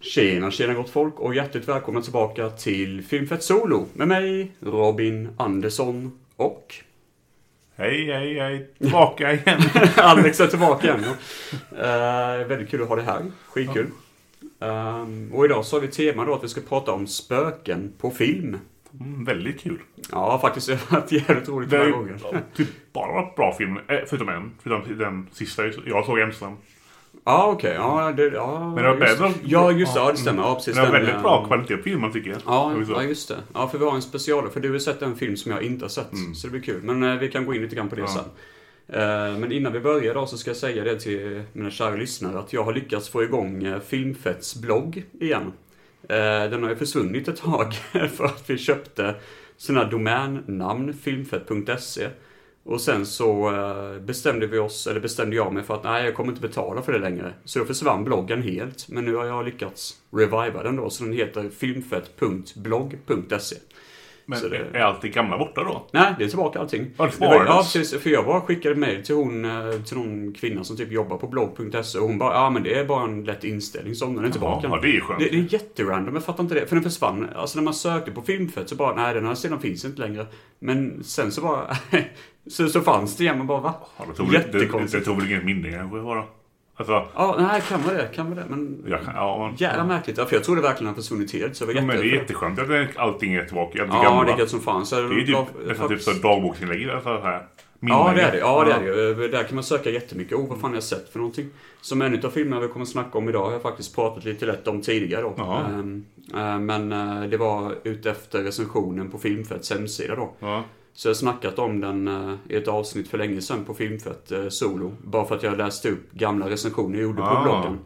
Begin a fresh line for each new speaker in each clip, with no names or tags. Tjena, tjena gott folk och hjärtligt välkomna tillbaka till Filmfett Solo med mig, Robin Andersson och
Hej, hej, hej. Tillbaka igen.
Alex är tillbaka igen. Eh, väldigt kul att ha dig här, skitkul. Ehm, och idag så har vi tema då att vi ska prata om spöken på film.
Mm, väldigt kul.
Ja, har faktiskt det har varit jävligt roligt
Det har
några
ju
gånger.
typ bara bra filmer. Eh, förutom en. Förutom den sista jag såg ensam.
Ja, okej. Ja, det, ja,
Men det var
just,
bättre.
Ja, just det. Ja, det stämmer. Ja,
Den
precis.
har
den,
väldigt
eh,
bra kvalitet på filmen tycker jag.
Ja,
Och så.
ja, just det. Ja, för vi har en special. För du har sett en film som jag inte har sett. Så det blir kul. Men eh, vi kan gå in lite grann på det
Ja.
sen. Eh, men innan vi börjar då så ska jag säga det till mina kära lyssnare att jag har lyckats få igång eh, Filmfetts blogg igen. Eh, den har ju försvunnit ett tag för att vi köpte sina domännamn, filmfett.se. Och sen så eh, bestämde vi oss, eller bestämde jag mig för att nej, jag kommer inte betala för det längre. Så då försvann bloggen helt. Men nu har jag lyckats reviva den då, så den heter filmfett.blogg.se.
Men
så det-
är allt det gamla borta då?
Nej, det är tillbaka allting.
Ja, det
Det var-
sparades.
Ja, precis. För jag bara skickade mejl till hon, eh, till någon kvinna som typ jobbar på blogg.se och hon bara, ja men det är bara en lätt inställning så den är tillbaka.
Ja, det är ju skönt.
Det, det är jätterandom, jag fattar inte det. För den försvann. Alltså när man sökte på Filmfett så bara, nej den här sidan finns inte längre. Men sen så bara, så, så fanns det igen. Man bara, va?
Ja, det, tog väl, det, det, det tog väl inget minne kanske bara. Alltså,
Ja, nej, kan vara det, kan vara det. Men
jag kan... Ja, man,
jävla märkligt. Ja, för jag trodde verkligen den hade försvunnit helt. Så jag var
men det är
jätte...
jätteskönt att det- allting är tillbaka. Allt det
Ja,
gamla.
det är gött som fan. Så
det är ju typ, nästan typ så dagboksinlägg. eller så här.
Ja,
Minnen.
det är det. Ja, det är det. ju. Där kan man söka jättemycket. Oh, vad fan har jag sett för någonting? Som en av filmerna vi kommer att snacka om idag har jag faktiskt pratat lite lätt om tidigare då.
Jaha.
Ehm, eh, Men eh, det var utefter recensionen på Filmfetts hemsida då.
Ja.
Så jag har snackat om den eh, i ett avsnitt för länge sedan på Filmfett eh, Solo. Bara för att jag läste upp gamla recensioner jag gjorde på
Ah.
bloggen.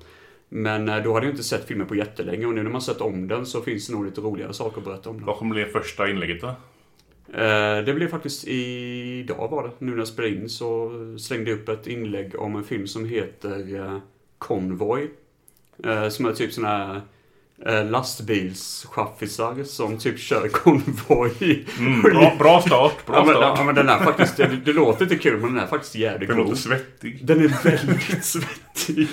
Men eh, då hade jag inte sett filmen på jättelänge och nu när man sett om den så finns det nog lite roligare saker att berätta om den.
Vad kommer bli första inlägget då?
Eh, Det blev faktiskt idag var det. Nu när jag spelade in så slängde jag upp ett inlägg om en film som heter eh, Convoy. Eh, Som är typ såna här eh, lastbilschaffisar som typ kör konvoj.
Mm, bra, bra start. Bra
Ja men,
start.
ja, men den är faktiskt, det, det låter inte kul men den är faktiskt jävligt
Den låter
cool.
svettig.
Den är väldigt svettig.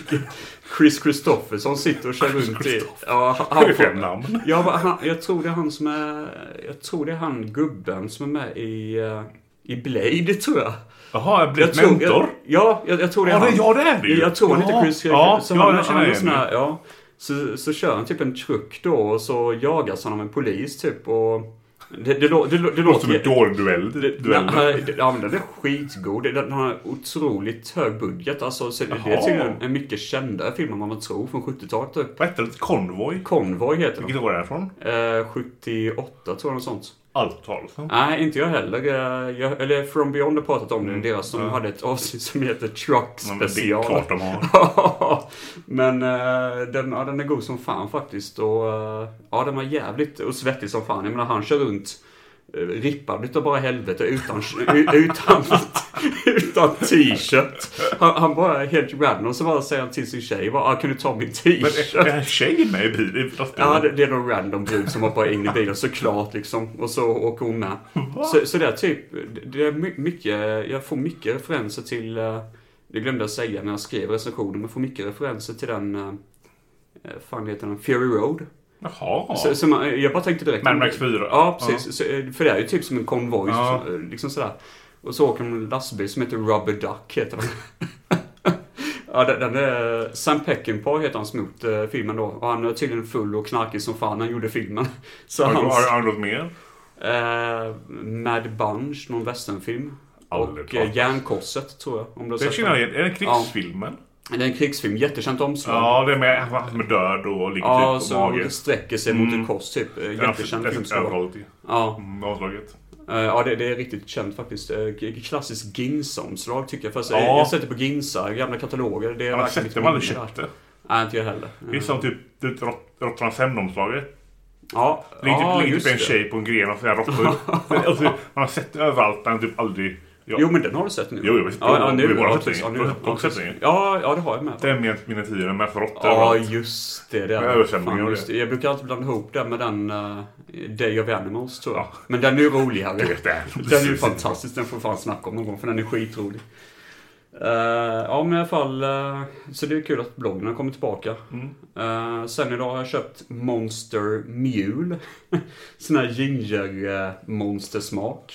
Chris Christopherson sitter och kör runt i... Ja, han,
Det är fem
han,
namn.
jag, bara, han, jag tror det är han som är... Jag tror det är han gubben som är med i... eh, I Blade, tror jag.
Jaha, jag blir
jag
ett
tror,
mentor?
Jag, ja, jag, jag tror det är
Ja, det,
han.
ja, det är det ju.
Jag tror han heter
ja,
Chris
Ja,
så
ja,
han,
jag
han,
känner
är
igen
sån
mig.
här, ja. Så, så kör han typ en truck då och så jagas han av en polis typ och... Det, det, lå- det, lå- det
Det låter som
låter...
en dålig duell. duell.
Nej, det- ja, men den är skitgod. Den- Den har otroligt hög budget. Alltså, så det det är
Jaha.
tydligen en mycket kändare film än vad man tror från 70-talet. Typ.
Vad hette det? Konvoj?
Konvoj heter den.
Vilket år är det från?
Eh, 78 tror jag något sånt.
Allt Karlsson.
Nej, inte jag heller. Eh, Jag, eller From Beyond har pratat om det. Deras som hade ett avsnitt som heter Truck
Men Det är
Special.
klart de har.
Men eh, den, ja, den är god som fan faktiskt. Och, eh, ja, den var jävligt och svettig som fan. Jag menar, han kör runt eh, rippad utav bara helvete utan, u- utan, utan t-shirt. Han, han bara är helt random så bara säger han till sin tjej bara, ah, kan du ta min
Men
t-shirt?
är, är en tjej med i bilen? i lastbilen?
Ja, det, det är någon random brud som hoppar in i bilen såklart liksom. Och så åker hon med. Så, så det är typ, det är my- mycket, jag får mycket referenser till, eh, det glömde jag säga när jag skrev recensionen, men jag får mycket referenser till den, eh, fan heter den, Fury Road.
Jaha.
Så, så man, jag bara tänkte direkt.
Mad Max 4.
Ja, precis. Så, eh, för det är ju typ som en konvoj,
Ja.
så- liksom sådär. Och så åker de en lastbil som heter Rubber Duck, heter den. Ja, den, den är... eh, Sam Peckinpah heter hans mot eh, filmen då. Och han är tydligen full och knarkig som fan när han gjorde filmen. Så
Har,
hans...
har, har du något mer?
Eh, Mad Bunch, någon westernfilm.
Aldrig
Och
pratat.
eh, Järnkorset, tror jag. Om du har
Det
sett
känner jag
den.
igen. Är det krigsfilmen?
Det är en krigsfilm, jättekänt omslag.
Ja, det är med han som är död och ligger
Ja,
typ Mm. på
så
magen.
det sträcker sig mot ett kors typ. Eh,
Den har-
Jättekänd
den
film.
finns
ska det vara.
överallt i
Ja.
mm, omslaget.
Eh, Ja, det, det är riktigt känt faktiskt. Eh, k- Klassiskt Ginsa-omslag tycker jag. Fast eh,
Ja.
jag sätter på Ginsa, gamla kataloger. Det är
Jag har
verkligen
sett
inte
den, men aldrig
min grej.
köpt det.
Nej, inte jag heller.
Det är som typ typ Rott- Råttornas hämnd-omslaget.
Eh, Ja,
Ligger typ,
ja
ligger
just
typ en
det.
tjej på en gren och sådär rockar ut. alltså, Man har sett det överallt men typ aldrig... Ja.
Jo, men den har du sett nu.
Jo, jo, visst.
ja, ja,
Jo,
nu.
vi har
ja,
sett den.
precis. Ja, nu.
Du har sett
Ja,
också
precis.
den.
ja, ja, det har jag med.
Det är med mina tider med för råttor
Ja,
överallt.
just det. det, är
Jag
det.
överkänner
Fan,
mig av
just
det.
det. Jag brukar alltid blanda ihop den med den eh, Day of Animals, tror jag.
Ja.
Men den är ju roligare.
Jag vet det.
Den är ju fantastisk. Den får vi fan snacka om någon gång, för den är skitrolig. Eh, ja, men i alla fall. eh, så det är kul att bloggen har kommit tillbaka.
Mm.
Eh, sen idag har jag köpt Monster Mule. Sån här ginger eh, monstersmak.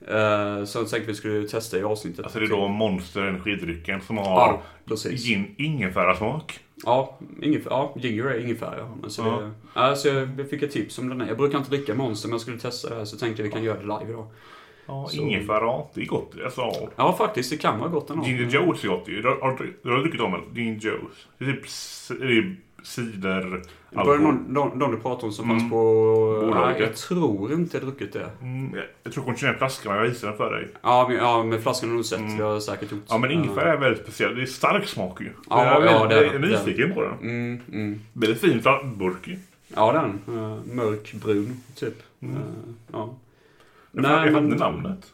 Eh, som jag tänkte vi skulle testa i avsnittet.
Alltså det är då Monster energidrycken som har
Ja, precis.
gin, ingefärasmak.
Ja, ingefär, ja, ginger är ingefära. Men så
Ja.
det, ja, så jag fick ett tips om den här. Jag brukar inte dricka Monster, men jag skulle testa det här så tänkte jag vi kan göra det live idag.
Ja,
Så-
ingefära. Det är gott. Alltså, ja.
Ja, faktiskt. Det kan vara gott ändå.
Ginger Joes är gott ju. Du har, har du- du har druckit om det? Ginger Joes. Det är typ c- det är cider...
Det var ju
alkohol.
någon, någon, någon du pratade om som
Mm.
fanns på...
Bolaget.
Nej, jag tror inte jag druckit det.
Mm, jag- jag tror kanske den här flaskan, jag visade den för dig.
Ja, men, ja, men flaskan har du sett.
Mm.
Jag har säkert gjort.
Ja men ingefära
Eh,
är väldigt speciell. Det är stark smak ju.
Ja,
jag
ja, det är
jag är
det.
nyfiken på den.
Mm, mm.
Väldigt fin fla- burk ju.
Ja, den. Uh, mörkbrun, typ.
Mm.
Eh, ja.
Jag fattar jag fattar inte namnet.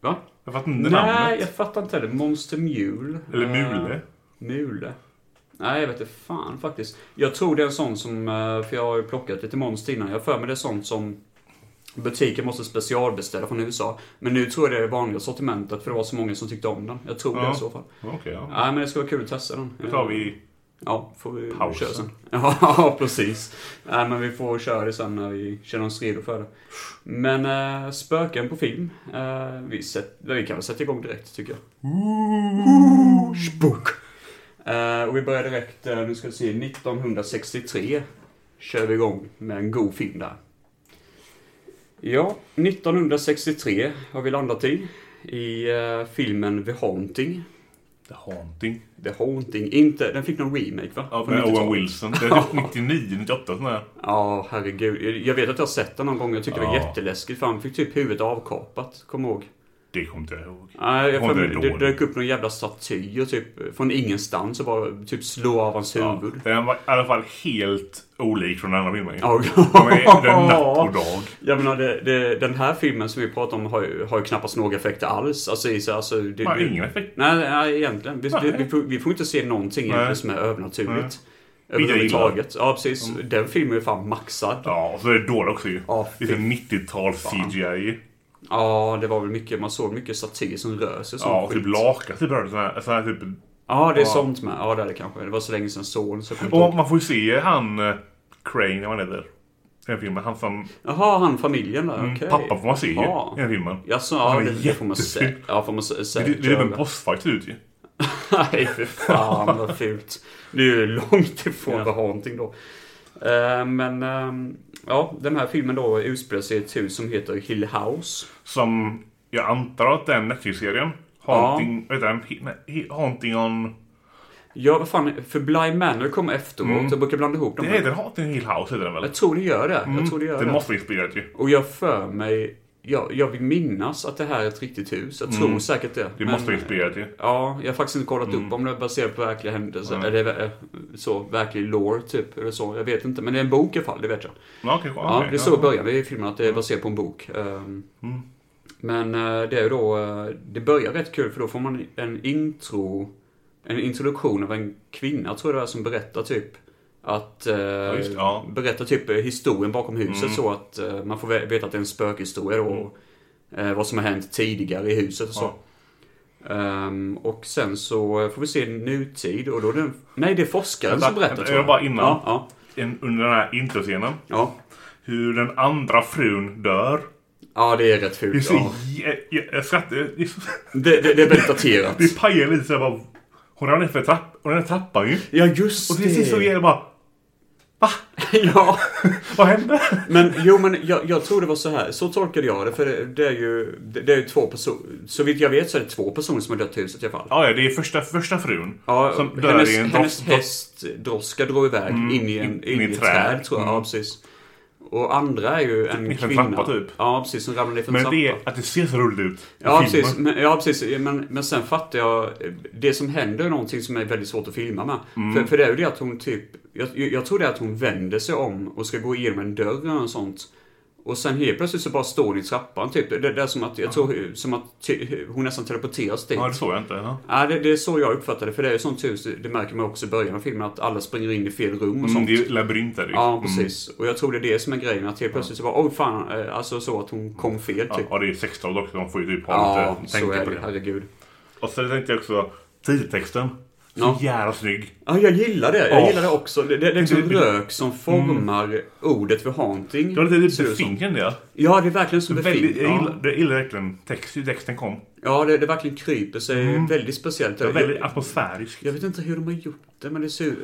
Va?
Jag fattar inte
Nej,
namnet.
jag fattar inte heller. Monster Mule.
Eller
Eh,
mule.
Mule. Nej, jag vet inte fan faktiskt. Jag tror det är en sån som, eh, för jag har ju plockat lite monster innan. Jag har för mig det är sånt som butiker måste specialbeställa från USA. Men nu tror jag det är det vanliga sortimentet för det var så många som tyckte om den. Jag tror det
Ja.
i så fall.
Okej, ja.
Nej, men det skulle vara kul att testa den.
Då tar vi...
Ja, får vi
Pausen.
köra sen. Ja, precis. Nej, men vi får köra det sen när vi känner oss redo för det. Men eh, spöken på film. Eh, vi, sätt, vi kan väl sätta igång direkt tycker jag. Spook. Eh, och vi börjar direkt, eh, nu ska vi se, 1963 kör vi igång med en god film där. Ja, 1963 har vi landat i. I eh, filmen The Haunting.
The Haunting.
The Haunting, inte, den fick någon remake va?
Ja,
Från
med
90-talet.
Owen Wilson. Det är typ 99, 98 sån där.
Ja, herregud. Jag vet att jag har sett den någon gång. Jag tyckte det var
Ja.
jätteläskigt. För han fick typ huvudet avkapat. Kommer ihåg.
Det kommer inte jag ihåg.
Nej, jag
Åh,
för
det är
mig- det,
dåligt.
det dök upp någon jävla staty och typ från ingenstans och bara typ slå av hans
Ja,
huvud.
den var i alla fall helt olik från den andra filmen.
Ja.
De är- Det är natt och dag.
Jag menar, det, det, den här filmen som vi pratar om har ju, har ju knappast några effekter alls. Alltså, i sig- alltså, det,
Man har
det-
ingen effekt.
nej, nej, egentligen. Vi,
Nej.
Vi, vi, får, vi får inte se någonting egentligen
Nej.
som är övernaturligt.
Vilket jag gillar. Mm.
Överhuvudtaget. Ja, precis. Den filmen är fan maxad.
Ja, och så är det dåligt också ju.
Ja,
Det är 90-tals CGI.
Ja, det var väl mycket, man såg mycket satir som rör sig och sån
Ja, och
skit.
typ lakan. Typ rörde sån här, sån här typ
Ja, det är
Ja.
sånt med. Ja, det är det kanske. Det var så länge sedan son så jag kommer inte ihåg.
Och man får ju se han eh, Crane, eller vad han heter. I den filmen. Han som...
Jaha, han familjen där,
mm,
okej.
Pappa får man se ju
Ja.
i den filmen.
Jaså,
Han
ja,
är
det, det får man säga.
jätteful.
Ja, får man sä-
Det, det,
säkert
det är typ en
göra.
bossfight ut ju.
Nej, för fan vad fult. Det är ju långt ifrån
Ja.
The Haunting då. Eh, men, ehm, ja, den här filmen då utspelar sig i ett hus som heter Hill House.
Som jag antar att den Netflix-serien Haunting... Vad heter den? He- nej, He- Haunting on...
Ja, vad fan, för Bly Manor kom efteråt.
Mm.
Jag brukar blanda ihop
Det
dem.
heter Haunting Hill House heter den väl?
Jag tror det gör det. Jag tror det gör det.
det måste vara inspirerat ju.
Och jag för mig, jag, jag vill minnas att det här är ett riktigt hus. Jag tror
Mm.
säkert det.
Det
Men,
måste vara inspirerat ju.
Ja, jag har faktiskt inte kollat
Mm.
upp om det är baserat på verkliga händelser.
Nej.
Eller eh, så, verklig lore typ. Eller så, jag vet inte. Men det är en bok i alla fall, det vet jag.
Ja, okej.
Ja,
okej,
det står i början i filmen att det är baserat på en bok. Ehm,
Mm.
Men eh, det är ju då, eh, det börjar rätt kul för då får man en intro, en introduktion av en kvinna tror jag det är som berättar typ att, eh,
just det, ja.
berättar typ eh, historien bakom huset
Mm.
så att eh, man får ve- veta att det är en spökhistoria då. och, eh, vad som har hänt tidigare i huset och så.
Mm. Ja.
Ehm, och sen så får vi se nutid och då är det en, Nej, det är forskaren
Vänta,
som berättar
vänta,
tror jag.
jag bara innan.
Ja, ja,
En, under den här introscenen.
ja.
Hur den andra frun dör.
ja, det är rätt
Det är
fult.
så...
Ja.
jä- jä- Jag skrattar. Det är så...
Det, det, det är väldigt daterat.
Det pajar lite såhär bara... Hon ramlar ner för trapp, och den här trappan ju.
Ja, just
Och till sist så är det bara...
Ja,
Vad hände?
men jo, men jag, jag tror det var så här. Så tolkade jag det, för det, det är ju, det, det är ju två personer. Så vitt jag vet så är det två personer som har dött i huset i alla fall.
Ja, ja, det är första, första frun.
Ja,
Som dör
hennes,
i en
hennes
dros-
häst droska drar iväg
Mm,
in i, en, in i ett träd, tror jag. Ja, precis. Och andra är ju en
Ner för en
kvinna.
trappa, Mm. typ.
Ja, precis. Som ramlar ner för en
Men
trappa.
det är att det ser så roligt ut. i
Ja
filmen.
precis, men, ja, precis. Men, men sen fattar jag. Det som händer är någonting som är väldigt svårt att filma med.
Mm.
För, för det är ju det att hon typ. Jag, jag tror det är att hon vänder sig om och ska gå igenom en dörr eller något sånt. Och sen helt plötsligt så bara står hon i trappan typ. Det, det är som att, jag tror, som att ty, hon nästan teleporteras dit.
Ja, det såg jag inte. Ja.
Ja, det, det är så jag uppfattar det. För det är ju sånt hus, det märker man också i början av filmen, att alla springer in i fel rum och sånt.
Mm, det är Mm. ju labyrinter. ju.
Ja, precis. Och jag tror det är det som är grejen. Att helt plötsligt så bara, oj fan, eh, alltså så att hon kom fel
Mm.
typ.
Ja, det är 16 också. De får ju typ ha
Ja,
lite
så
tänka
är
på
det.
det.
Herregud.
Och sen tänkte jag också, tidtexten. Så
Ja.
jävla snygg.
Ja, jag gillar det. Jag
Ja. Mm.
gillar det också. Det, det, det är liksom rök som formar ordet för haunting.
Det var lite
ser det ut som.
befingen det.
Ja, det är verkligen som
Väldigt,
befint.
jag
Ja,
gillar- jag gillar verkligen text, hur texten kom.
ja det, det verkligen kryper sig. Väldigt speciellt.
Mm. Det var väldigt
jag,
atmosfärisk.
jag vet inte hur de har gjort det, men det ser ut...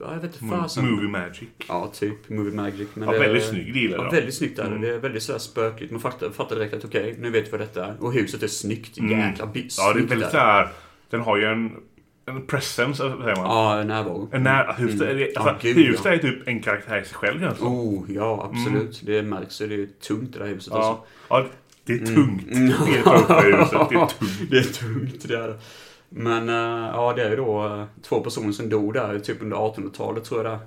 Ja, jag vet inte
Mo-
fasen.
Movie magic.
Ja, typ Movie Magic. Men
Ja,
det,
väldigt Mm. snygg. Det gillar
Ja,
jag.
väldigt snyggt är det. Det är väldigt sådär spökigt. Man fattar, fattar direkt att okej, nu vet vi vad detta är. Och huset är snyggt.
Mm.
Jäkla bi-
Ja, det är
snyggt
väldigt
där.
såhär. Den har ju en, en presence, eller vad säger man?
Ja, närvaro.
En när, huset, är, alltså,
Mm. Ja, gud,
huset
ja.
är typ en karaktär i sig själv alltså.
Oh, ja
Mm.
absolut. Det märks ju. Det är tungt det där huset alltså. Mm.
ja. ja, det är tungt. Det är tungt med huset. Det är typ- tungt.
Det är tungt, det är det. Men eh, ja, det är ju då eh, två personer som dog där, typ under 1800-talet tror jag det är.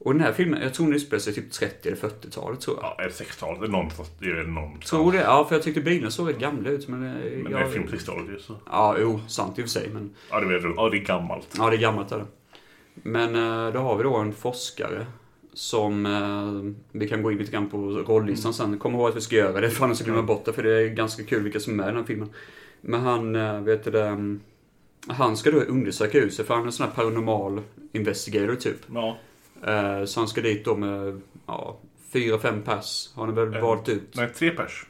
Och den här filmen, jag tror den utspelar sig typ 30 eller 40-talet tror jag.
Ja, eller 60-talet. eller Någonstans. Det är väl någonstans.
Tror det, ja för jag tyckte bilen såg rätt gamla ut men... eh,
Men det
jag,
är film 60-talet ju, så.
Ja, jo, sant i och för sig men...
Ja, det vet du. Ja, det är gammalt.
Ja, det är gammalt är det. Men eh, då har vi då en forskare som... eh, Vi kan gå in lite grann på rollistan
Mm.
sen. Kom ihåg att vi ska göra det, för annars glömmer jag bort det. För det är ganska kul vilka som är med i den här filmen. Men han, eh, vet du det... mm, Han ska då undersöka huset, för han är en sån här paranormal investigator typ.
Ja.
Eh, Så han ska dit då med, ja, fyra, fem pass har han väl
Eh,
valt ut.
Nej, tre pers.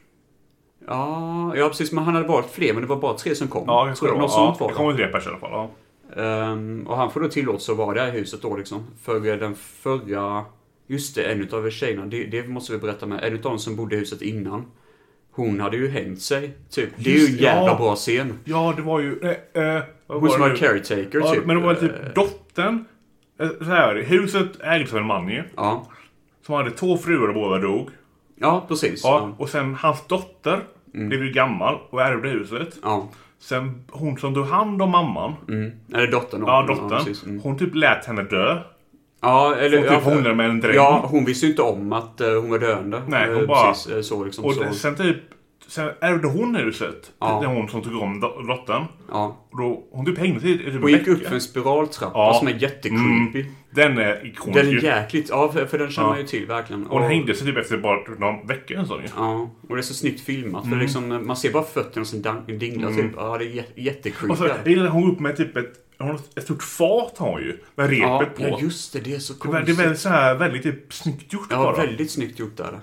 Ja, ja, precis. Men han hade valt fler, men det var bara tre som kom.
Ja, jag tror det.
Något
var.
sånt
Ja,
var
det
det.
kommer tre pers i alla fall. Ja.
Ehm, och han får då tillåtelse att vara där i huset då liksom. För den förra... Just det, en utav tjejerna, det, det måste vi berätta med. En utav dem som bodde i huset innan. Hon hade ju hängt sig, typ. Det är ju en
Just det,
jävla
ja.
bra scen.
Ja, det var ju... Eh, eh, vad
Hon som
var
var
det nu?
caretaker,
ja,
typ.
Men det var
Eh,
typ dottern. Eh, Så här, huset ägdes av en man ju.
Ja.
Som hade två fruar och båda dog.
Ja, precis.
Ja, och sen hans dotter
Mm.
blev ju gammal och ärvde huset.
ja.
Sen hon som tog hand om mamman,
Mm. Eller dottern.
ja
Ja,
dottern,
precis. mm.
hon typ lät henne dö.
ja eller...
Hon typ
ja,
hånglade med en dräng.
ja, hon visste ju inte om att eh, hon var döende.
Nej, hon
Eh,
bara-
Precis, eh, så liksom.
och
så.
det- sen typ sen ärvde hon huset.
Ja.
Det är hon som tog om do- dottern.
Ja.
Och då, hon typ hängde sig i typ en
Hon gick
vecka.
upp för en spiraltrappa
Ja. Mm.
som är jättecreepy.
Den är ikonisk
Den är
ju.
jäkligt, ja för, för den känner
Ja.
man ju till verkligen.
Hon
Och-
hängde sig typ efter bara någon vecka eller så ju.
Ja, och det är så snyggt filmat.
Mm.
För det är liksom, man ser bara fötterna som dan- dinglar typ. Ja, det är jä- jättecreepy.
Och så
Ja,
hängde hon upp med typ ett, hon har ett stort fat har hon ju. Med repet
ja,
på.
just det. Det är så
det är
konstigt.
väldigt så här, väldigt typ snyggt gjort
ja,
bara. Mm.
väldigt snyggt gjort där.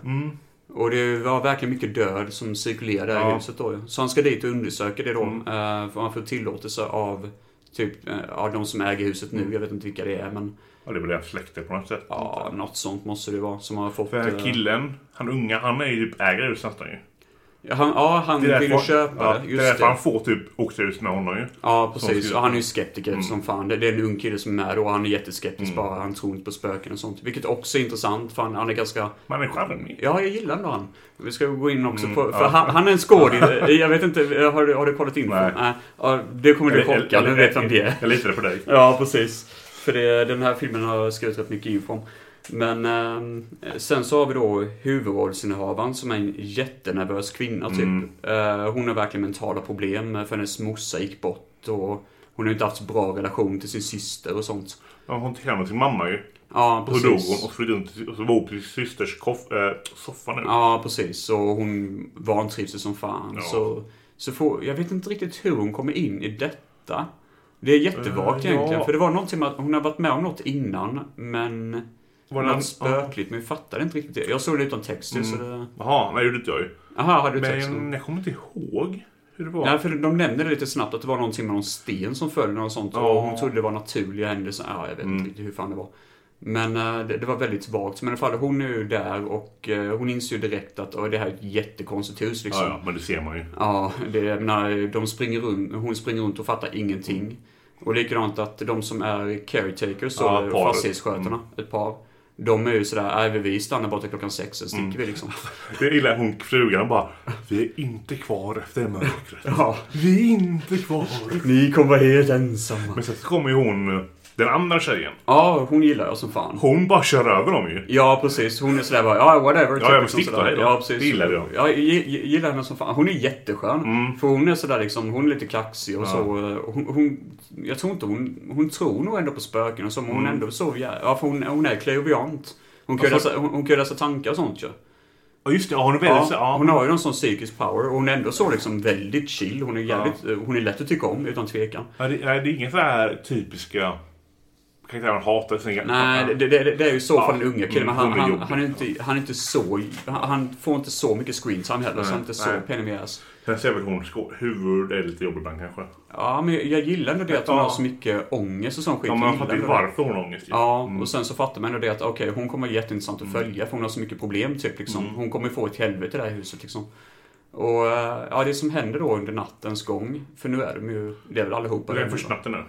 Och det var verkligen mycket död som cirkulerade i
Ja. Mm.
huset då ju. Så han ska dit och undersöka det då. eh, För han får tillåtelse av typ, eh, ja, de som äger huset nu. Jag vet inte vilka det är men
Ja, det är väl deras släkte på något sätt.
ja, något sånt måste det vara som har fått...
För den här
eh,
killen, han unga, han är ju typ ägare ut nästan ju.
han, ja, han
är
vill ju
därför-
köpa
ja,
det.
det. är
Just
därför
det.
han får typ åka ut med honom ju.
Ja,
Som
precis.
skulle- Mm.
Och han är ju skeptiker som fan. Det, det är en ung kille som är med då. och Han är jätteskeptisk bara. Han tror inte på spöken och sånt. Vilket också är intressant för han, han är ganska...
Man är charmig.
Ja, jag gillar ändå han. Vi ska gå in också på... För
Mm, ja.
han, han är en skådis. Jag vet inte, har du, har du kollat in?
Nej.
Nej. Ja, det kommer du chocka. Du vet vem det är.
Jag litar på dig.
Ja, precis. För det, den här filmen har jag skrivit rätt mycket info om. Men ehm, sen så har vi då huvudrollsinnehavaren som är en jättenervös kvinna typ.
Mm.
Eh, hon har verkligen mentala problem eh, för hennes morsa gick bort och hon har inte haft så bra relation till sin syster och sånt.
Ja, Hon tog hem sin mamma ju.
Ja,
Och så dog
precis.
hon och så flyttade hon till, och så bor hon på sin systers koff, eh, soffa nu.
Ja, precis. Och hon vantrivs som fan.
Ja.
Så, så får, jag vet inte riktigt hur hon kommer in i detta. Det är jättevagt
Eh, ja.
egentligen. För det var någonting med att hon har varit med om något innan, men...
Var det
något
någon-
spökligt, men jag fattade inte riktigt det. Jag såg det utan text ju, så det...
Jaha, nej det gjorde inte jag ju.
Aha, hade du texten?
Mm. Men jag kommer inte ihåg hur det var.
Nej, för de nämnde det lite snabbt att det var någonting med någon sten som föll eller något sånt.
Ja. Mm.
Och hon trodde det var naturliga händelser. Ja, jag vet inte riktigt hur fan det var. Men eh, det, det var väldigt vagt. Men i alla fall, hon är ju där och eh, hon inser ju direkt att "Åh, det här är ett jättekonstigt hus liksom.
ja, ja, men det ser man ju.
Ja, det, jag menar, de springer runt, hon springer runt och fattar ingenting. Och likadant att de som är caretakers,
Ja, Mm.
och
paret.
fastighetsskötarna, ett par. De är ju sådär, nej vi stannar bara till klockan sex, sen sticker
Mm.
vi liksom.
Det gillar hon, frugan, bara Vi är inte kvar efter mörkret.
Ja.
Vi är inte kvar.
Ni kommer vara helt ensamma.
Men sen så kommer ju hon, eh, den andra tjejen.
Ja, hon gillar jag som fan.
Hon bara kör över dem ju.
Ja, precis. Hon är sådär bara, ja whatever.
Ja, ja, men
liksom
stick då,
sådär.
hej då.
Ja, precis.
Det gillar jag.
Ja, jag gi- gi- gillar henne som fan. Hon är jätteskön.
Mm.
För hon är sådär liksom, hon är lite kaxig och så. Hon, hon, jag tror inte hon, hon tror nog ändå på spöken och så, men hon är
Mm.
ändå så, jä- ja för hon, hon är klaviant. Hon kan ju läsa, hon, hon kan ju läsa tankar och sånt ju.
Ja, just det. Ja, hon är väldigt... så-
Ja,
Ja,
hon har ju någon sån psykisk power och hon är ändå så liksom väldigt chill. Hon är, jävligt, eh, hon är lätt att tycka om utan tvekan.
Ja, det, nej, det är inga så här typiska karaktärer man hatar. Sin
Nej, det, det, det är ju i så
Ja.
fall den unga killen. Men han,
Mm, hon är
han,
jobbig.
han, är inte, han är inte så... Han, han får inte så mycket screentime heller, så han är inte så
nej.
penimieras.
Sen ser väl hon skå- huvud är lite jobbig ibland kanske.
Ja, men jag gillar ändå det att hon
Ja.
har så mycket ångest och sån skit.
Ja, men
Jag
man
gillar
fattar inte
ändå det.
varför Mm. hon har ångest. ju.
Ja, och sen så fattar man ändå det att okej, hon kommer vara jätteintressant
Mm.
att följa för hon har så mycket problem typ liksom. Hon kommer få ett helvete i det här huset liksom. Och eh, ja, det som händer då under nattens gång, för nu är de ju, det är väl allihopa
Det är
redan, va?
första natten nu.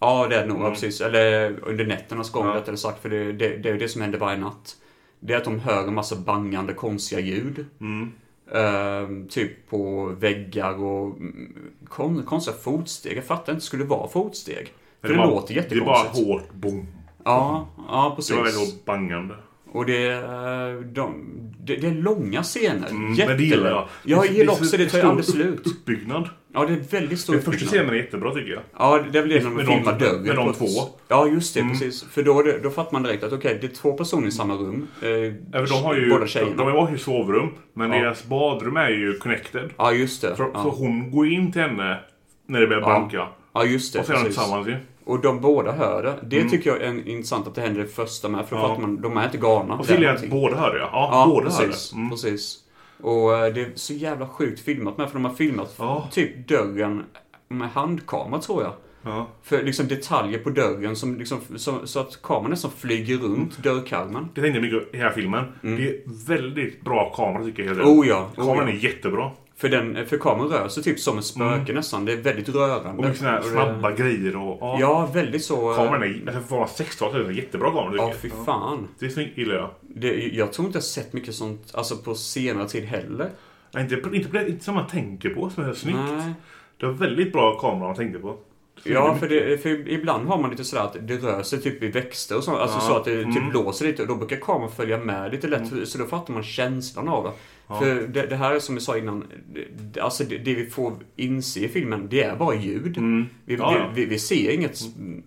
Ja, det är det nog. ja, Precis. Eller under nätternas gång
Ja.
rättare sagt. För det, det, det är ju det som händer varje natt. Det är att de hör en massa bangande konstiga ljud.
Mm.
Ehm, typ på väggar och mm, kon, konstiga fotsteg. Jag fattar inte, skulle det vara fotsteg? För det,
bara-
låter
Det är
jättekonstigt.
bara hårt bom.
Ja, ja, precis.
Det var väldigt hårt bangande.
Och det, eh, de, det, det är långa scener.
Mm,
Jättelånga.
men det gillar jag.
Ja, jag
är
gillar
så
också det. Det tar ju
stor
aldrig slut.
Uppbyggnad.
Ja, det är väldigt stor
Den första
uppbyggnad.
scenen är jättebra tycker jag.
Ja, det är väl det när de
Med
filmar
de-
dörren.
med de
på ett-
två. Mm.
Ja, just det. Precis. För då, är det- då fattar man direkt att okej, det är två personer i samma rum. Eh,
Även de har ju,
båda
de,
tjejerna.
de har ju sovrum, men
Ja.
deras badrum är ju connected.
Ja, just det.
Så, så
Ja,
hon går in till henne när det börjar
Ja.
banka.
ja just det.
Och så är de
precis.
tillsammans ju.
Och de båda hör det. Det tycker jag är en- intressant att det händer i första med. För då
Mm. Ja.
fattar man, de är inte galna.
Och
Det
så
är
gillar jag att
någonting.
båda hör det. Ja,
Ja,
båda
precis.
hör det. Mm.
precis. Och eh, det är så jävla sjukt filmat med, för de har filmat
Ja.
typ dörren med handkamera, tror jag.
Ja.
För liksom detaljer på dörren, som liksom, så, så att kameran nästan flyger
Mm.
runt dörrkarmen.
Det tänkte jag mycket på i den här filmen.
Mm.
Det är väldigt bra kamera tycker jag. hela tiden.
Oh ja, oh
Kameran
ja.
är jättebra.
För, den, för kameran rör sig typ som en spöke nästan. Det är väldigt rörande.
Mm. Och mycket såna här
det-
snabba grejer och... Ja.
Ja, väldigt så... eh,
Kameran är... Alltså för att vara 16 är det en jättebra kamera tycker
Ja,
jag.
fy fan.
Det är snyggt, gillar jag.
Det, jag tror inte jag sett mycket sånt alltså på senare tid heller.
Nej, inte, inte, inte, inte som man tänker på som är snyggt.
Nej.
Det var väldigt bra kamera man tänkte på.
Ja, för, det, för ibland har man lite sådär att det rör sig typ i växter och så. Alltså så att det typ blåser lite och då brukar kameran följa med lite lätt. Så då fattar man känslan av det. För det, det här är som jag sa innan, det, alltså det, det vi får inse i filmen, det är bara ljud. Mm. Vi,
Mm. Ja, ja.
vi, vi, vi ser inget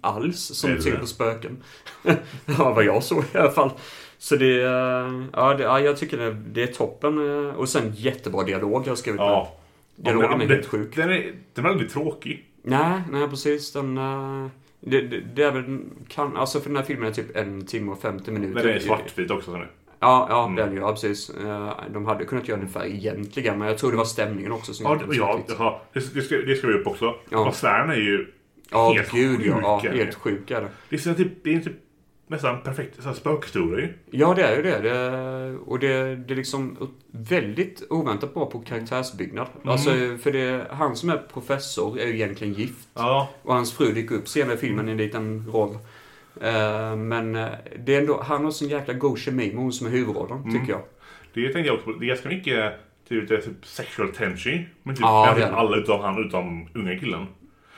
alls som
Eller?
tyder på spöken. ja, vad jag såg i alla fall. Så det, eh, ja, det, ja jag tycker det, det är toppen. eh, Och sen jättebra dialog jag har skrivit med.
Ja.
Dialogen
men-
är
det-
helt sjuk.
Den är, den är aldrig tråkig.
Nej, nej precis. Den, eh, det, det, det är väl den- kan, alltså för den här filmen är typ en timme och 50 minuter.
Men den är Mm. svartvit också. Så nu.
Ja, ja det är den ju. Ja, precis. Eh, De hade kunnat göra den färg egentligen, men jag tror det var stämningen också som
Ja,
gjorde den
det, ja,
svartvit.
ja det, det, ska, det ska vi upp också.
Ja.
Atmosfären är ju
Ja,
helt
gud
sjuk.
ja. ja
är
helt
det.
sjuk är det.
det är, så typ, det är typ nästan perfekt så här spökhistoria ju.
Ja, det är ju det. det och det, det är liksom väldigt oväntat bra på karaktärsbyggnad. Alltså, för det, han som är professor är ju egentligen gift.
Ja.
Och hans fru dyker upp senare i filmen i en liten roll. Eh, men eh, det är ändå, han har sån jäkla god kemi med hon som är huvudrollen, tycker jag.
Det tänkte jag också på. Det är ganska mycket typ, det är typ sexual tension. Men typ,
Ja,
ja,
det är det.
alla utom han, utom unga killen.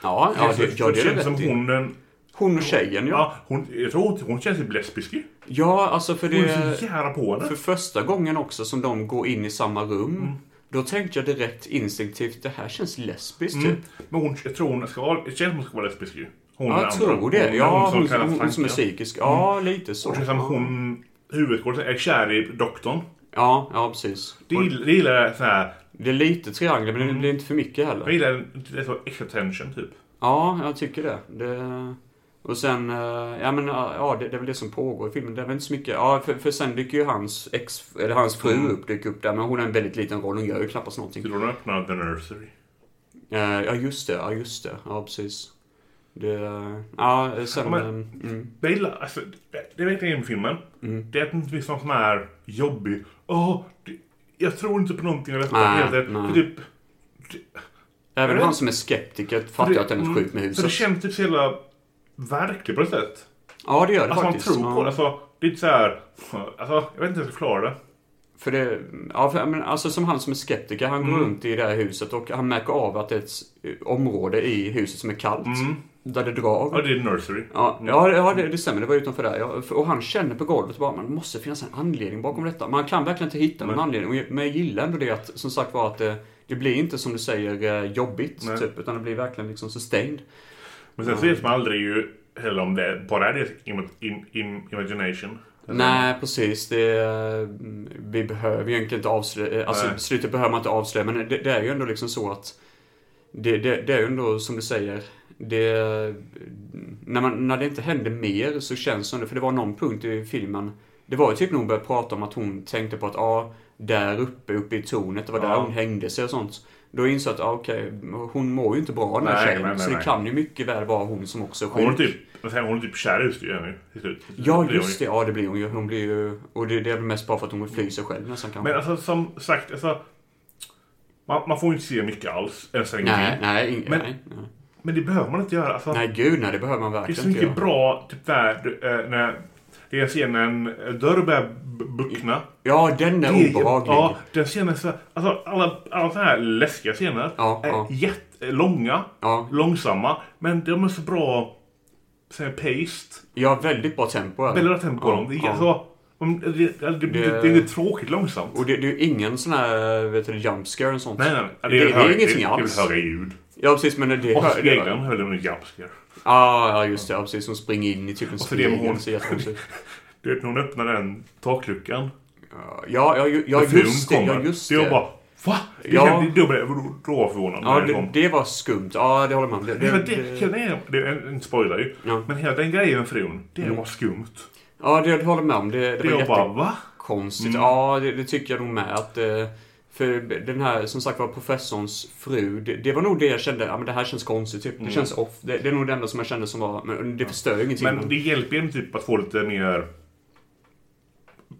Ja, ja, det, ja, det är
känns
det
som
rätt i.
hon, den,
Hon och tjejen, ja.
ja, hon, jag tror hon, hon känns typ lesbisk ju.
Ja, alltså för
Hon är så
det...
jävla på henne.
För första gången också som de går in i samma rum. Då tänkte jag direkt instinktivt, det här känns lesbiskt typ.
Mm. Men hon, jag tror hon ska vara, det känns som hon ska vara lesbisk ju. Hon
Ja,
den
jag
andra.
tror det. Ja, hon,
kallas
hon, hon som är
Franka.
psykisk. Ja, lite så.
Och sen som hon, huvudskådisen, är kär i doktorn.
Ja, ja precis.
Det gillar, det gillar jag sån här,
Det är lite triangel,
Mm.
men det blir inte för mycket heller.
jag gillar det är så extra tension typ.
Ja, jag tycker det. det... Och sen, eh, ja men ja, ja, det, det är väl det som pågår i filmen. Det är väl inte så mycket, ja för, för sen dyker ju hans ex, eller hans fru
Mm.
upp, dyker upp där. Men hon har en väldigt liten roll, hon gör ju knappast någonting.
Det är då de öppnar The Nursery.
Eh, Ja just det, ja just det, ja precis. Det, ja sen,
Ja, men-
eh, mm,
Jag gillar, alltså, det, det vet jag med filmen. Det är att det inte finns någon sån här jobbig, åh, det, jag tror inte på någonting eller
Nej, nej.
För typ,
även
men-
han som är skeptiker fattar
det-
att den är
mm,
sjuk med
För det
huset.
känns typ så jävla verkligt på något sätt.
Ja det gör det
Alltså man
faktiskt.
tror
ja.
på det. Alltså, det är inte så här, alltså, jag vet inte hur jag ska förklara det.
För det, ja, för, men, alltså som han som är skeptiker, han går runt i det här huset och han märker av att det är ett s- område i huset som är kallt. Där det drar.
Mm. Ja, det är Nursery.
Ja, ja, ja det, det stämmer. Det var utanför där. Ja, och han känner på golvet bara, man måste finnas en anledning bakom detta. Man kan verkligen inte hitta någon anledning. Och jag- Men jag gillar ändå det att, som sagt var, att det, det blir inte som du säger eh, jobbigt, typ. Utan det blir verkligen liksom sustained.
Men sen så vet man aldrig ju heller om det bara är deras im- im- im- imagination.
Nej, precis. Det, eh, vi behöver ju egentligen inte avslöja... eh, Alltså,
Nej.
slutet behöver man inte avslöja, men det, det är ju ändå liksom så att... Det, det, det är ju ändå, som du säger, det... När, man, när det inte hände mer så känns det som det, för det var någon punkt i filmen... Det var ju typ när hon började prata om att hon tänkte på att, ja, ah, där uppe, uppe i tornet, det var där
Ja.
hon hängde sig och sånt. Då insåg jag att, ah, okej, hon mår ju inte bra den här
Nej,
tjejen.
nej, nej,
så det
nej.
kan ju mycket väl vara hon som också är
Hon
sjuk.
är typ, vad säger jag, hon är typ kär i just det nu till slut.
Ja,
blir hon ju.
just det. Ja, det blir hon ju. Hon blir ju... Och det, det är väl mest bara för att hon vill fly sig själv nästan kanske.
Men alltså som sagt, alltså, man, man får ju inte se mycket alls än så länge.
nej, nej, ing-
Men-
nej, nej.
Men det behöver man inte göra. Alltså,
Nej, gud nej. Det behöver man
det är så
verkligen inte
mycket
göra.
bra, typ där, eh, när det är scenen, eh, dörr börjar b- buckna.
Ja, den är
Det är-
obehaglig.
Ja, den scenen, så, alltså alla, alla så här läskiga scener
Ja,
är
ja.
jättelånga,
Ja.
långsamma, men de är så bra så här, paced.
Ja, väldigt bra tempo. är det.
Väldigt bra tempo på
Ja,
dem. Det, är
ja.
alltså, om- det, det, det, det, det är tråkigt långsamt.
Och det, det är ju ingen sån här, vet du, jump scare och sånt.
Nej, nej, nej.
Det- det är
höga-
ingenting
det,
alls.
Det är väl höga ljud.
Ja, precis. Men det... det,
Och så
det-
speglaren höll den med jumpscare.
Ja, ja, just det. Ja, precis. Hon springer in i typ en
så det är
spegel.
hon.
så jättekonstigt.
Du vet, när hon öppnar den takluckan.
Ja, ja, ja, ja,
när frun
just det. Ja,
kommer.
just
Det var
det.
bara, va? Det
Ja.
kände, då, blev, då, då var jag förvånad
Ja,
när den
det,
kom.
det var skumt. Ja, det håller man. Det,
Det,
det,
det, det, hela den, det är en, en spoiler ju.
Ja.
Men hela den grejen med frun, det var skumt.
ja, det håller jag med om. Mm. Det, det
Det
var
var
jätte...
bara, va?
konstigt.
Mm.
Ja, det, det tycker jag nog med. Att, eh, för den här, som sagt var, professorns fru. Det, det var nog det jag kände, ja men det här känns konstigt typ.
Mm.
Det känns off. Det, det är nog det enda som jag kände som var, men det förstör ju ingenting.
Men det hjälper ju en typ att få lite mer...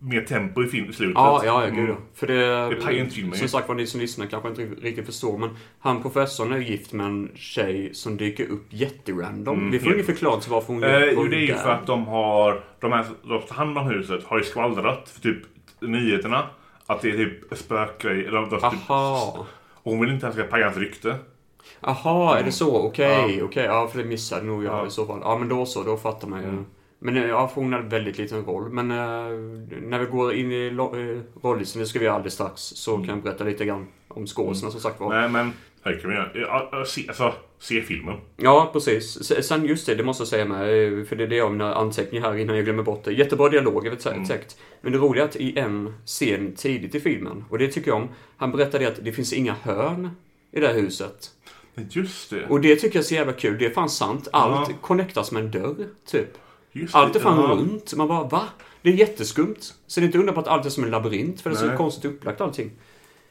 Mer tempo i film, slutet.
Ja, ja, ja, gud ja.
Mm.
För det,
Det pajar ju inte filmen ju.
Som sagt var, ni som lyssnar kanske inte riktigt förstår, men han professorn är ju gift med en tjej som dyker upp jätterandom. Vi får
helt.
ingen förklaring till varför hon
Mm. Eh, jo,
var
det är ju
där.
för att de har... De här de som tar hand om huset har ju skvallrat för typ nyheterna. Att det är typ spökgrejer. Eller de, de, typ,
Aha.
och hon vill inte att han ska paja hans rykte.
Aha, är det så? Okej,
Mm. Ja.
okej. Ja, för det missade nog jag
Ja. Mm.
i så fall. Ja, men då så. Då fattar man ju. Men eh, ja, för hon hade väldigt liten roll. Men eh, när vi går in i lo- eh, rolllistan, det ska vi göra alldeles strax, så kan jag berätta lite grann om skådisarna som sagt var.
Mm. Nej, men... Det kan man göra. Ja, ja, se, alltså, se filmen.
Ja, precis. Se- Sen just det, det måste jag säga med, eh, för det är det jag har mina anteckningar här innan jag glömmer bort det. Jättebra dialoger, vet-
Mm.
säkert. Men det roliga är att i en scen tidigt i filmen, och det tycker jag om, han berättade att det finns inga hörn i det här huset.
Men Just det.
Och det tycker jag är så jävla kul. Det är fan sant. Allt
Ja.
connectas med en dörr, typ.
Just
Allt är fan
Ja.
runt. Man bara, va? Det är jätteskumt. Så det är inte undra på att allt är som en labyrint, för det är så
Nej.
konstigt upplagt allting.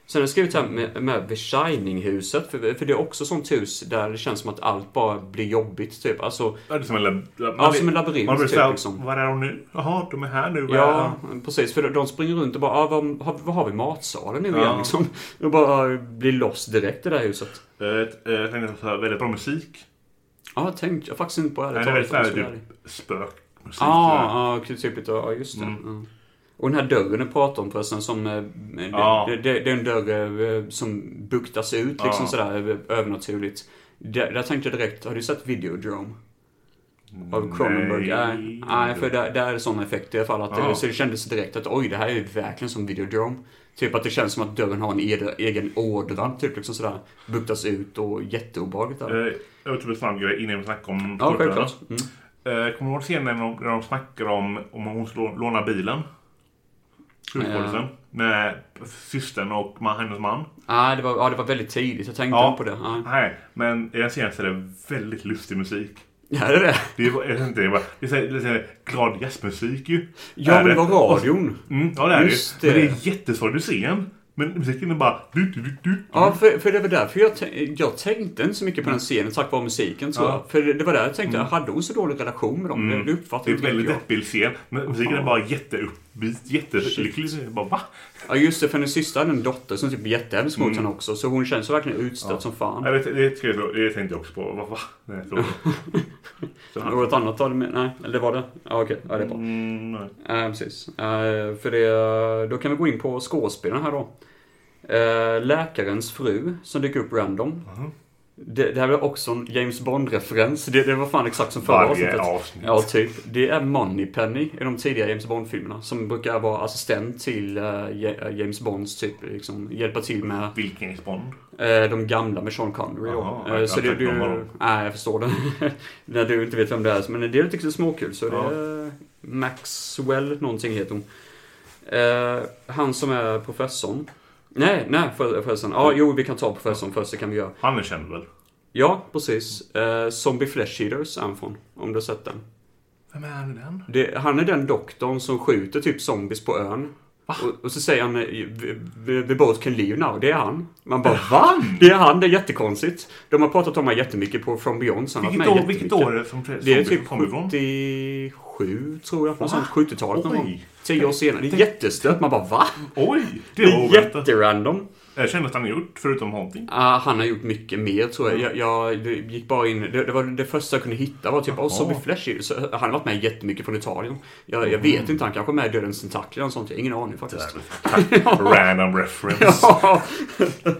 Sen har jag skrivit här med, med The Shining-huset, för, för det är också sånt hus där det känns som att allt bara blir jobbigt, typ. Alltså,
Ja, Det är som en, lab- man
ja,
blir-
som en labyrint,
Man blir
typ.
såhär,
liksom.
var är de nu? Jaha, de är här nu. Var är
Ja,
de?
precis. För de- de springer runt och bara, ah, vad, har- vad har vi i matsalen nu
Ja.
igen, liksom? Och bara blir loss direkt i det här huset.
Eh, t- eh, Jag tänkte såhär, väldigt bra musik.
Ja, jag tänkte jag faktiskt inte på det.
Nej, det är
talat,
väldigt såhär
om jag ska vara ärlig.
typ spökmusik. sådär.
Ja, ah, typ lite, ja just det.
Mm.
Ja. Och den här dörren jag pratade om förresten som... eh, Det,
Ja.
det, det, det är en dörr eh, som buktas ut liksom
Ja.
sådär eh, övernaturligt. Där, där tänkte jag direkt, har du sett Videodrome? Av Cronenberg? Nej. Nej, för där, där är det sådana effekter i alla fall. Att, det-
Ja.
Så det kändes direkt att oj, det här är ju verkligen som Videodrome. Typ att det känns som att dörren har en ed- egen ådra, typ liksom sådär. Buktas ut och jätteobehagligt där.
Eh, Jag vill typ en snabb grej innan vi snackar om
ja,
skådespelarna.
självklart. Mm.
Eh, Kommer du ihåg scenen när de, när de snackar om om hon ska lå- låna bilen? Sjukvårdisen. Med systern och man, hennes man.
Ah, det, var, ja, det var väldigt tidigt, jag tänkte
Ja.
på det. Ja.
Nej, men i den scenen så är det väldigt lustig musik.
Ja, det är det.
Det är, jag vet inte, det är, bara- det är, så här- det är så här glad jazzmusik ju.
Ja,
Är
men det var radion.
Mm, ja, det är
Just
det. ju. Men
det.
det är jättesvår du ser en. Men musiken är bara... Du, du, du, du.
Ja, för, för det var därför jag, tän- jag tänkte inte så mycket på den scenen tack vare musiken tror
Mm. Ja. Mm.
jag. För det, det var där jag tänkte, jag hade hon så dålig relation med dem? Det- Det
Det
uppfattade
är
inte
en väldigt
riktigt jag.
deppig scen. Men musiken är bara jätteuppbeat, jättelycklig. Så jag Bara, va?
Ja, just det. För hennes syster hade en dotter som typ är jättehemsk mot
Mm.
henne också. Så hon känns verkligen utstött som fan.
Nej, det, det, ska jag- det tänkte jag också på. Va? va? Nej, förlåt. Så han-
Något annat var det med? Nej, eller det var det? Ja, okej. Ja, det är bra.
Mm, nej.
Eh, precis. Eh, för det, då kan vi gå in på
Mm.
skådespelarna här då. Eh, läkarens fru som dyker upp random. Det, det här är också en James Bond-referens. Det, det var fan exakt som förra
Varje
avsnittet.
avsnitt.
Ja, typ. Det är Moneypenny i de tidiga James Bond-filmerna. Som brukar vara assistent till eh, Ja- eh, James Bonds, typ. Liksom, hjälpa till med
Vilken Bond?
eh, de gamla med Sean Connery då.
Jaha,
Eh,
jag
så det,
tänkte
du,
de var de.
nej, jag förstår det. När du inte vet vem det är. Men det är lite småkul. Så
Ja.
det är Maxwell någonting heter hon. Eh, han som är professorn. Nej, nej för, förresten. Ja, jo, vi kan ta professorn först. Det kan vi göra.
Han är känd väl?
Ja, precis. Eh, Zombie Flesh Eaters är han från. Om du har sett den.
Vem är den?
Det, han är den doktorn som skjuter typ zombies på ön. Och, och så säger han "Eh, "We- we, we both can leave now. Det är han. Man bara VA? Det är han, det är jättekonstigt. De har pratat om honom jättemycket på From Beyond. Så han har
Vilket
varit med
år, vilket
jättemycket.
år är det som
Det är
Zombie
typ
kommer ifrån?
77 tror jag. Något
Va?
sånt 70-talet någon
Oj.
gång. Tio år senare. Det är jättestört. Man bara VA?
Oj!
Det
Det var
är
oväntat.
jätterandom.
Jag känner att han har gjort, förutom Haunting.
Ah, han har gjort mycket mer tror jag. Jag, jag det gick bara in, det, det var det första jag kunde hitta var typ oh, Zombie Flesh. Så han har varit med jättemycket från Italien. Jag, jag vet inte, han kanske är med i Dödens Tentakler och sånt. Jag har ingen aning faktiskt.
Random reference.
Ja.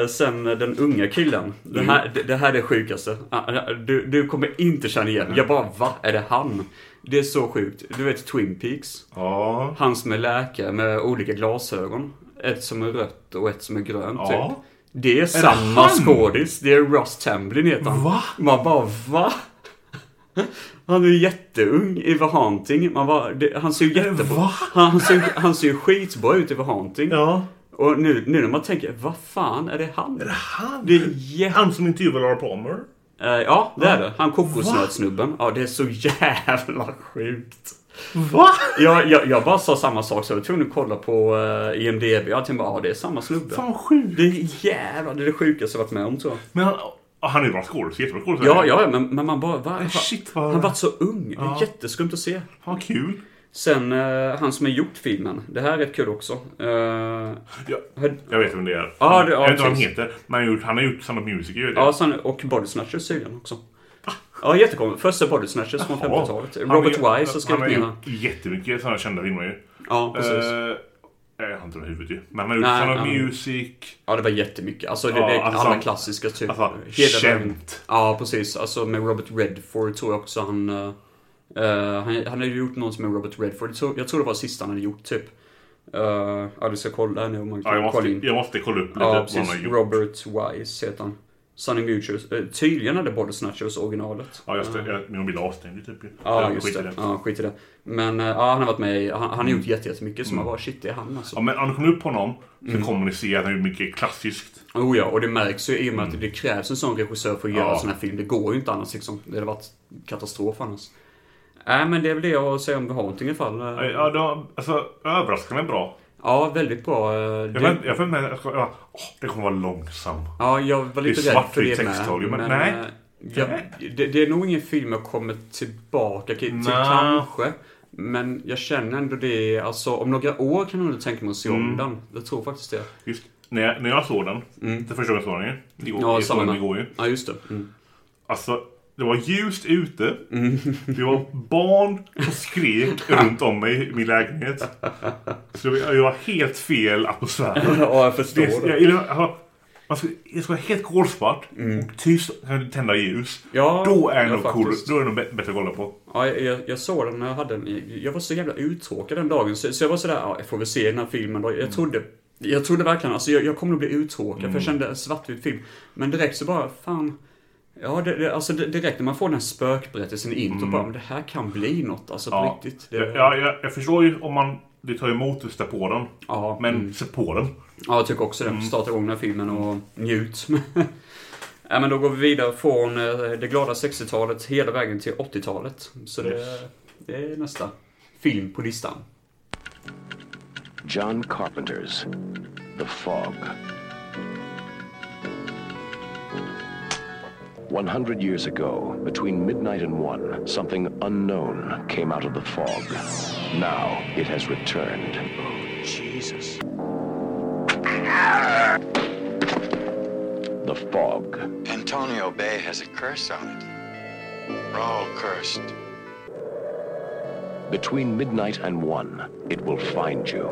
Eh, Sen den unga killen. Den här, det, det här är det sjukaste. Ah, Du, du kommer inte känna igen Jag bara va? Är det han? Det är så sjukt. Du vet Twin Peaks?
Ja.
Han som är läkare med olika glasögon. Ett som är rött och ett som är grönt
Ja.
typ. Det är, samma
han?
skådis. Det är Russ Tamblyn heter han.
Va?
Man bara va? Han är jätteung i The Haunting. Man bara, det, han ser ju jättebra
va?
han, han, ser, han ser ju skitbra ut i The Haunting.
Ja.
Och nu, nu när man tänker, vad fan är det han?
Han?
Det är jä...
Han som intervjuade Laura Palmer?
Eh, ja, det är det. Han kokosnötssnubben. Ja, det är så jävla sjukt.
Va?
Jag, jag, jag bara sa samma sak så jag var tvungen att kolla på eh, IMDB. Jag tänkte bara, ja det är samma snubbe.
Fan vad sjukt.
Det är jävlar, det är det sjukaste jag varit med om tror jag.
Men han, han är ju bra skådis. Jättebra skådis.
Ja, ja, men, men man bara, va?
Men shit vad...
Han har varit så ung. Det är jätteskumt att se.
Fan vad kul.
Sen eh, han som har gjort filmen. Det här är rätt kul också. Eh,
Ja,
hör-
jag vet vem det är.
Ja, det- ja,
jag vet inte vad han
precis.
heter. Men han har gjort, han har gjort Sound of Music. Jag vet
ja, sen, och Body Snatchers tydligen också. Ja, jättekonstigt. Första Body Snatchers från 50-talet. Robert Wise har skrivit
Han har
ner den.
gjort jättemycket sådana kända filmer ju.
Ja, precis.
Eh, Jag har inte det i huvudet ju. Men han har gjort
Nej,
Sound of
nej.
Music.
Ja, det var jättemycket. Alltså, det,
Ja,
det är
alltså,
alla klassiska typ.
alltså,
Hela vägen.
känt.
Ja, precis. Alltså med Robert Redford tror jag också han... eh, eh, han, han hade ju gjort någon som är Robert Redford. Så, jag tror det var sista han hade gjort typ. Uh, ja, du ska kolla här nu om man
Ja,
kan
jag, måste,
kolla in.
jag måste kolla upp lite
Ja,
vad han har
precis.
gjort.
Robert Wise heter han. Sunny Mutuals. Uh, tydligen hade Body Snatchers originalet.
Ja, just det. Jag, min mobil är avstängd ju, typ. ju.
Mm. Ja,
Jag
just
skiter i Mm.
det. Ja, skit i det. Men eh, ja, han har varit med i, han, han har gjort jätte- jättemycket som man bara, shit, det är han alltså.
Ja, men om du kommer upp på honom så
Mm.
kommer ni se att han är mycket klassiskt.
Oh ja, och det märks ju i och med att det krävs en sån regissör för att göra
Ja.
sån här film. Det går ju inte annars liksom. Det hade varit katastrof annars. Nej, men det är väl det jag säger om The Haunting i alla fall.
Ja, då, alltså, överraskande bra.
Ja, väldigt bra. Eh,
Jag
Det,
vänt- jag vänt mig... Jag, ska- jag, åh, det kommer vara långsam.
ja, jag var lite
Det är
rädd för
svartvitt
det med.
texttal, men
eh,
nej.
Jag, det, det är nog ingen film jag kommer tillbaka till, till
Nej.
kanske. Men jag känner ändå det, alltså om några år kan jag nog tänka mig att se om
Mm.
den. Jag tror faktiskt det.
Just, när, jag, när jag såg den, det första gången jag såg den ju. Igår,
Mm. Ja,
jag såg
samma
den
med.
igår ju.
Ja, just det. Mm.
Alltså, det var ljust ute. Det var barn som skrek runt om mig i min lägenhet. Så jag jag var helt fel atmosfär.
Ja, jag förstår
Det,
det.
jag, jag, jag, man ska, det ska vara helt kolsvart
Mm.
och tyst. Kan du tända ljus.
Ja,
då är det
ja,
nog cool,
faktiskt.
Då är det nog bä- bättre att kolla på.
Ja, jag, jag, jag såg den när jag hade den. Jag var så jävla uttråkad den dagen. Så, så jag var sådär, ja, jag får väl se den här filmen då. Jag trodde, jag trodde verkligen, alltså jag, jag kommer att bli uttråkad. För jag kände en svartvit film. Men direkt så bara, fan. Ja, det, det, alltså det, direkt när man får den här spökberättelsen in mm. bara, men det här kan bli något. Alltså
Ja.
på riktigt. Det,
Jag,
ja,
jag, jag, jag förstår ju om man det tar emot att stå på den.
Ja,
men se på den.
Ja, jag tycker också det. Starta igång den här filmen och njut. ja, men då går vi vidare från eh, det glada 60-talet hela vägen till 80-talet. Så det, det är nästa film på listan.
John Carpenter's The Fog. 100 years ago, between midnight and one, something unknown came out of the fog. Now it has returned. Oh, Jesus. The fog.
Antonio Bay has a curse on it. We're all cursed.
Between midnight and one, it will find you.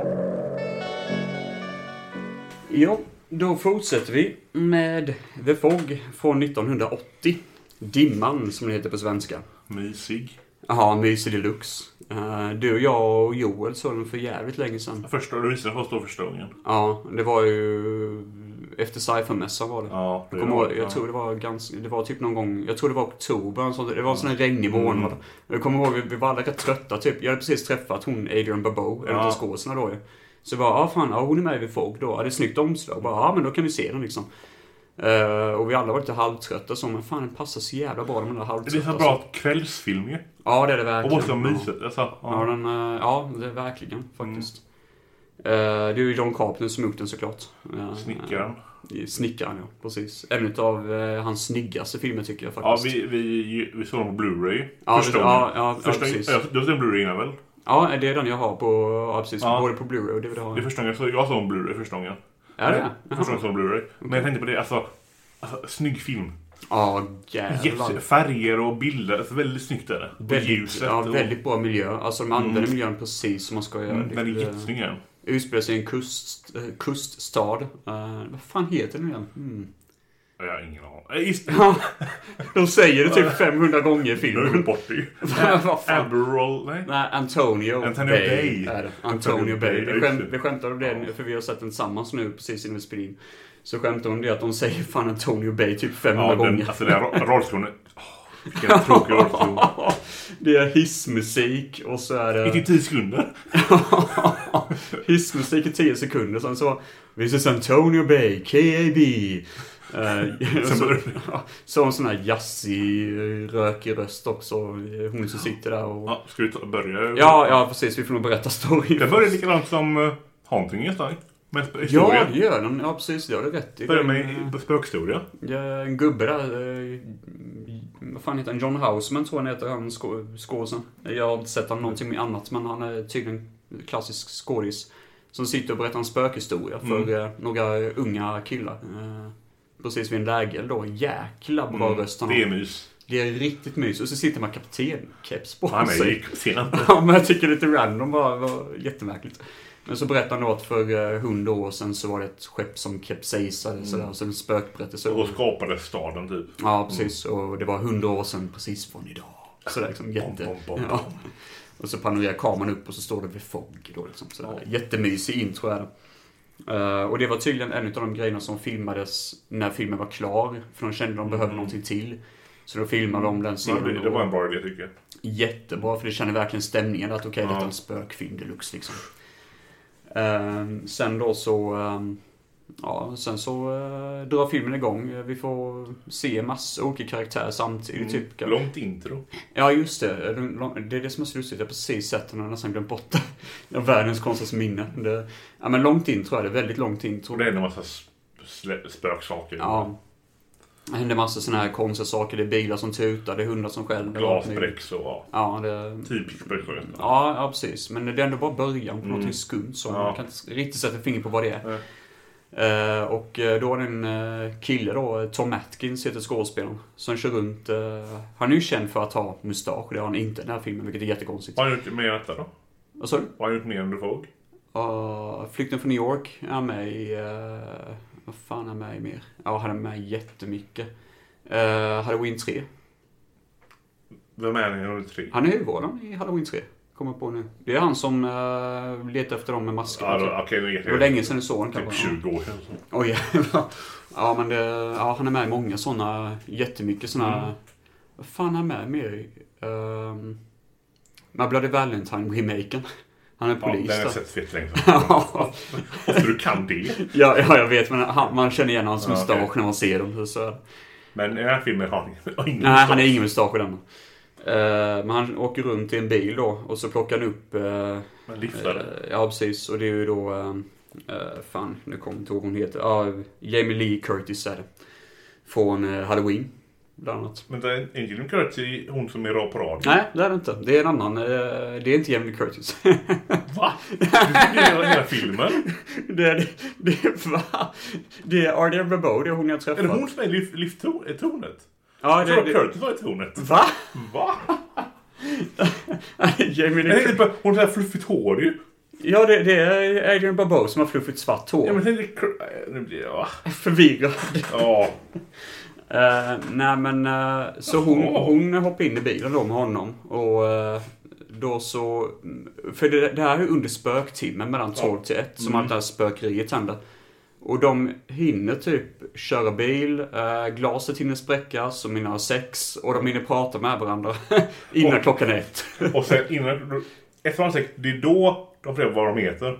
Ja, Då fortsätter vi med The Fog från 1980. Dimman, som det heter på svenska.
Mysig.
Jaha, mysig deluxe. Eh, du, jag och Joel såg den för jävligt länge sedan.
Första du visade första första gången.
Ja, det var ju... Efter cyphermässan var det.
Ja,
Jag, kommer ihåg,
ja.
jag tror det var ganska, det var typ någon gång, jag tror det var oktober, en sån- det var en sån här regnig
Mm.
månad. Jag kommer ihåg, vi, vi var alla rätt trötta typ. Jag hade precis träffat hon Adrian Barbeau, en
Ja.
av skådisarna då ju. Så jag bara, ja ah, fan, ja, hon är med vid Fog då. Ja, det är ett snyggt omslag. Bara, ja men då kan vi se den liksom. Eh, och vi alla var lite halvtrötta så, men fan den passar så jävla bra de där
Det är
halvtrötta. alltså."
så bra kvällsfilm ju.
Ja det är det
Och
verkligen.
bara så
Ja.
mysigt. Alltså,
Ja,
ja. Mm.
den, eh, ja det är verkligen faktiskt. Eh, det är ju John Carpenter som gjort den såklart. Eh,
Snickaren.
i Snickaren, ja. Precis. En av eh, hans snyggaste filmer tycker jag
Ja,
faktiskt.
vi, vi, vi såg den på Blu-ray.
Ja,
första
det-
gången.
ja, ja, ja,
första,
precis.
ja, du har sett den Blu-ray innan väl?
Ja, det är den jag har på, ja, precis,
Ja.
både på Blu-ray och DVD. har
Det är
jag.
första gången jag såg, jag såg en Blu-ray första gången.
Är det
Första gången jag såg en Blu-ray. Men jag tänkte på det, alltså. alltså snygg film.
Ja,
Jätte,
jävlar.
färger och bilder. Alltså, väldigt snyggt är det. Och
Väldigt,
ljuset.
ja,
och-
väldigt bra miljö. Alltså de använder miljön precis som man ska göra.
Mm, Den är
Det-
jättesnygg den.
det utspelar sig i en kust, eh, kuststad. Eh, vad fan heter den igen? Mm.
Jag har ingen aning. Äh, Just
De säger det typ 500 gånger i
Jag har
filmen.
glömt bort det.
vad fan?
Admiral... Nej.
Nej, Antonio,
Antonio Bay.
är det.
Antonio
Antonio Bay.
Bay,
Vi,
ja, just
skämt,
det.
vi skämtar om det nu, för vi har sett den tillsammans nu precis innan vi spelade in. Så skämtar om det att de säger fan Antonio Bay typ 500
Ja,
gånger.
den, alltså den här rollskon... Åh, Vilken tråkig rollskon.
det är hissmusik och så är
Gick i
det...
tio sekunder.
hissmusik i 10 sekunder, sen så... This is Antonio Bay, KAB. Eh, och så, så har hon sån här jazzig, eh, rökig röst också, eh, hon som sitter där och...
Ja, ska vi ta, börja?
Ja, ja precis, vi får nog berätta storyn.
Den börjar likadant som uh, Haunting nästan. Med sp-
Ja,
historia.
det gör den. Ja, precis. Det har du rätt i.
Börjar
Det är en,
med spökhistoria.
Ja, en gubbe där. eh, Vad fan heter han? John Houseman tror jag han heter, han skå- skådisen. Jag har inte sett honom någonting med annat, men han är tydligen klassisk skådis. Som sitter och berättar en spökhistoria för
Mm.
eh, några unga killar. Eh, Precis vid en lägel då. Jäkla bra röst han
Mm. Det är
har.
mys.
Det är riktigt mys. Och så sitter man kaptenkeps på
Han är
sig.
ju sen.
Ja, men jag tycker lite random bara. var jättemärkligt. Men så berättade han då att för hundra år sedan så var det ett skepp som kapsejsade sådär. Så en spökberättelse.
Mm. Och skapade staden typ.
Ja, precis. Och det var hundra år sedan precis från idag. Sådär liksom jätte...
bom, bom,
Ja. Och så panorerar kameran upp och så står det vid Fogg då liksom. Sådär. Jättemysig intro är det. Eh, och det var tydligen en av de grejerna som filmades när filmen var klar. För de kände att de behövde någonting till. Så då filmade de den
Mm. Ja,
scenen.
det, det var en bra idé tycker jag.
Jättebra, för det känner verkligen stämningen att okej, detta är
Ja.
en spökfilm deluxe liksom. Ehm, sen då så... ehm, ja, sen så eh, drar filmen igång. Vi får se massa olika karaktärer samtidigt. Typ. kan-
Långt intro.
Ja, just det. Den lång- Det är det som är så lustigt. Jag har precis sett den och nästan glömt bort det. Det är Världens konstigaste minne. Det, ja, men långt intro är det. Väldigt långt intro.
Och det är en massa s- slä- spöksaker.
Ja. Det händer massa sådana här konstiga saker. Det är bilar som tutar, det är hundar som skäller.
Glasbräcks och ja.
Ja, det...
Typisk spöksaker.
Ja, ja, precis. Men det är ändå bara början på
Mm.
någonting skumt. Så man kan inte riktigt sätta fingret på vad det är. Eh, och eh, då är det en eh, kille då, Tom Atkins heter skådespelaren, som kör runt. eh, han är ju känd för att ha mustasch, det har han inte i den här filmen, vilket är jättekonstigt.
Vad har han gjort mer än detta då?
Vad sa du?
Vad har han gjort mer än The Fog?
Uh, Flykten från New York är han med i... eh, vad fan är han med i mer? Ja, han är med i jättemycket. Uh, Halloween 3.
Vem är den i de tre?
Han är huvudrollen i Halloween 3. Kommer jag på nu. Det är han som eh, letar efter dem med maskerna.
Ja,
typ.
då- Okej, nu vet
Det var
jag.
länge sedan du såg honom
Typ
kanske.
20 år sedan.
Oj, jävlar. ja, men det, ja, han är med i många sådana, jättemycket sådana.
Mm.
Vad fan är han med mer i? Um, med Bloody Valentine-remaken. Han är
Ja, den
polis
har jag
där.
sett fett länge sedan. Så du kan det.
ja, ja, jag vet, men han, man känner igen hans
Ja,
mustasch
okej.
när man ser dem. Så.
Men i den här filmen har han ingen- har ingen
Nej, han är
mustasch.
ingen mustasch i den. Eh, men han åker runt i en bil då och så plockar han upp eh,
Men lyftare.
Eh, Ja, precis. Och det är ju då... eh, eh, fan, nu kommer jag inte ihåg vad hon heter. Ja, Jamie Lee Curtis är det. Från eh, Halloween, bland annat.
Vänta, Angelina Curtis är hon som är rad på rad.
Nej, det är det inte. Det är en annan. eh, Det är inte Jamie Lee Curtis.
Va? Hela, hela filmen?
det är... Det är... Va? Det är Ardea Barbeau, det är hon jag
Är
träffade.
det hon som är lyft, lyfttor- i tornet?
Ja,
Jag
det,
tror att
det,
Curtis var i tornet.
Va?
Va?
Jamie Lee
Nej,
Curtis.
typ, Hon har så här fluffigt hår ju.
Ja, det, det är Adrian Barbeau som har fluffigt svart hår.
Ja, men tänk dig... Cr- Nu blir jag...
Förvirrad.
Ja.
Eh, nej men, eh, så hon,
Jaha.
hon hoppade in i bilen då med honom. Och eh, då så... För det, det här är under spöktimmen mellan 12 till 1,
Mm.
som allt det här spökeriet händer. Och de hinner typ köra bil, eh, glaset hinner spräckas, och mina sex, och de hinner prata med varandra innan
Och-
klockan är ett.
Och sen innan... Efter han sagt, det är då de får reda på vad de heter.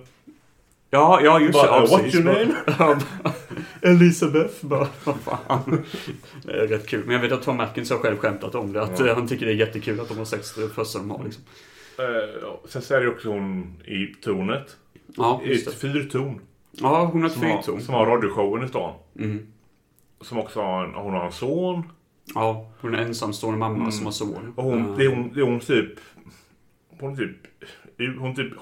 Ja, ja just
Bara,
det.
"What's your name?"
name? Elisabeth. Bara, vad fan. Det är rätt kul. Men jag vet att Tom Atkins har själv skämtat om det. Att eh, han tycker det är jättekul att de har sex det första de har liksom.
Eh, ja. Sen så är det också hon i tornet.
Ja,
I
just
ett
det.
fyrtorn.
Ja, hon har ett
Som har,
fyrtorn.
som har radioshowen i stan.
Mhm.
Som också har en, hon har en son.
Ja, hon är en ensamstående mamma som har son.
Mm. Och hon,
Ja.
det, är hon, det är hon typ... Hon är typ... Hon är typ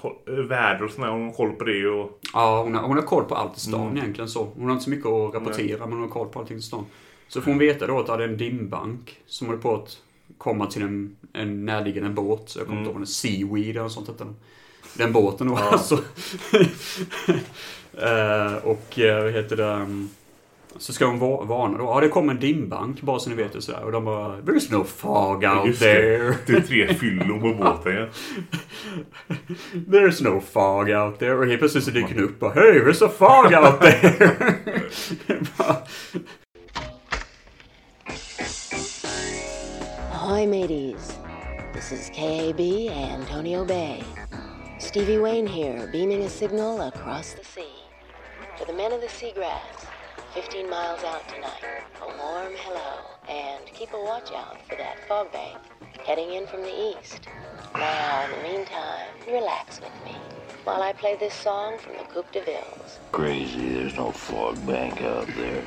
värd och sådär. Hon har koll på det och...
Ja, hon har, hon har koll på allt i stan
Mm.
egentligen så. Hon har inte så mycket att rapportera, men hon har koll på allting i stan. Så får hon veta då att det hade en dimbank som höll på att komma till en, en närliggande båt. Jag kommer inte ihåg om det är Seaweed eller sånt hette den. Den båten då alltså. Eh, och eh, vad heter det? um, Så ska hon va- varna då. Ja, det kommer en dimbank bara så ni vet det sådär. Och de bara There's no fog out
Just
there.
det. det är tre fyllon på båten ja.
There's no fog out there. Och helt plötsligt så dyker den upp och Hey, there's a fog out there! Bara,
Ahoy, mateys. This is KAB Antonio Bay. Stevie Wayne here, beaming a signal across the sea. For the men of the seagrass, 15 miles out tonight, a warm hello, and keep a watch out for that fog bank heading in from the east. Now, in the meantime, relax with me while I play this song from the Coupe de Villes.
Crazy, there's no fog bank out there.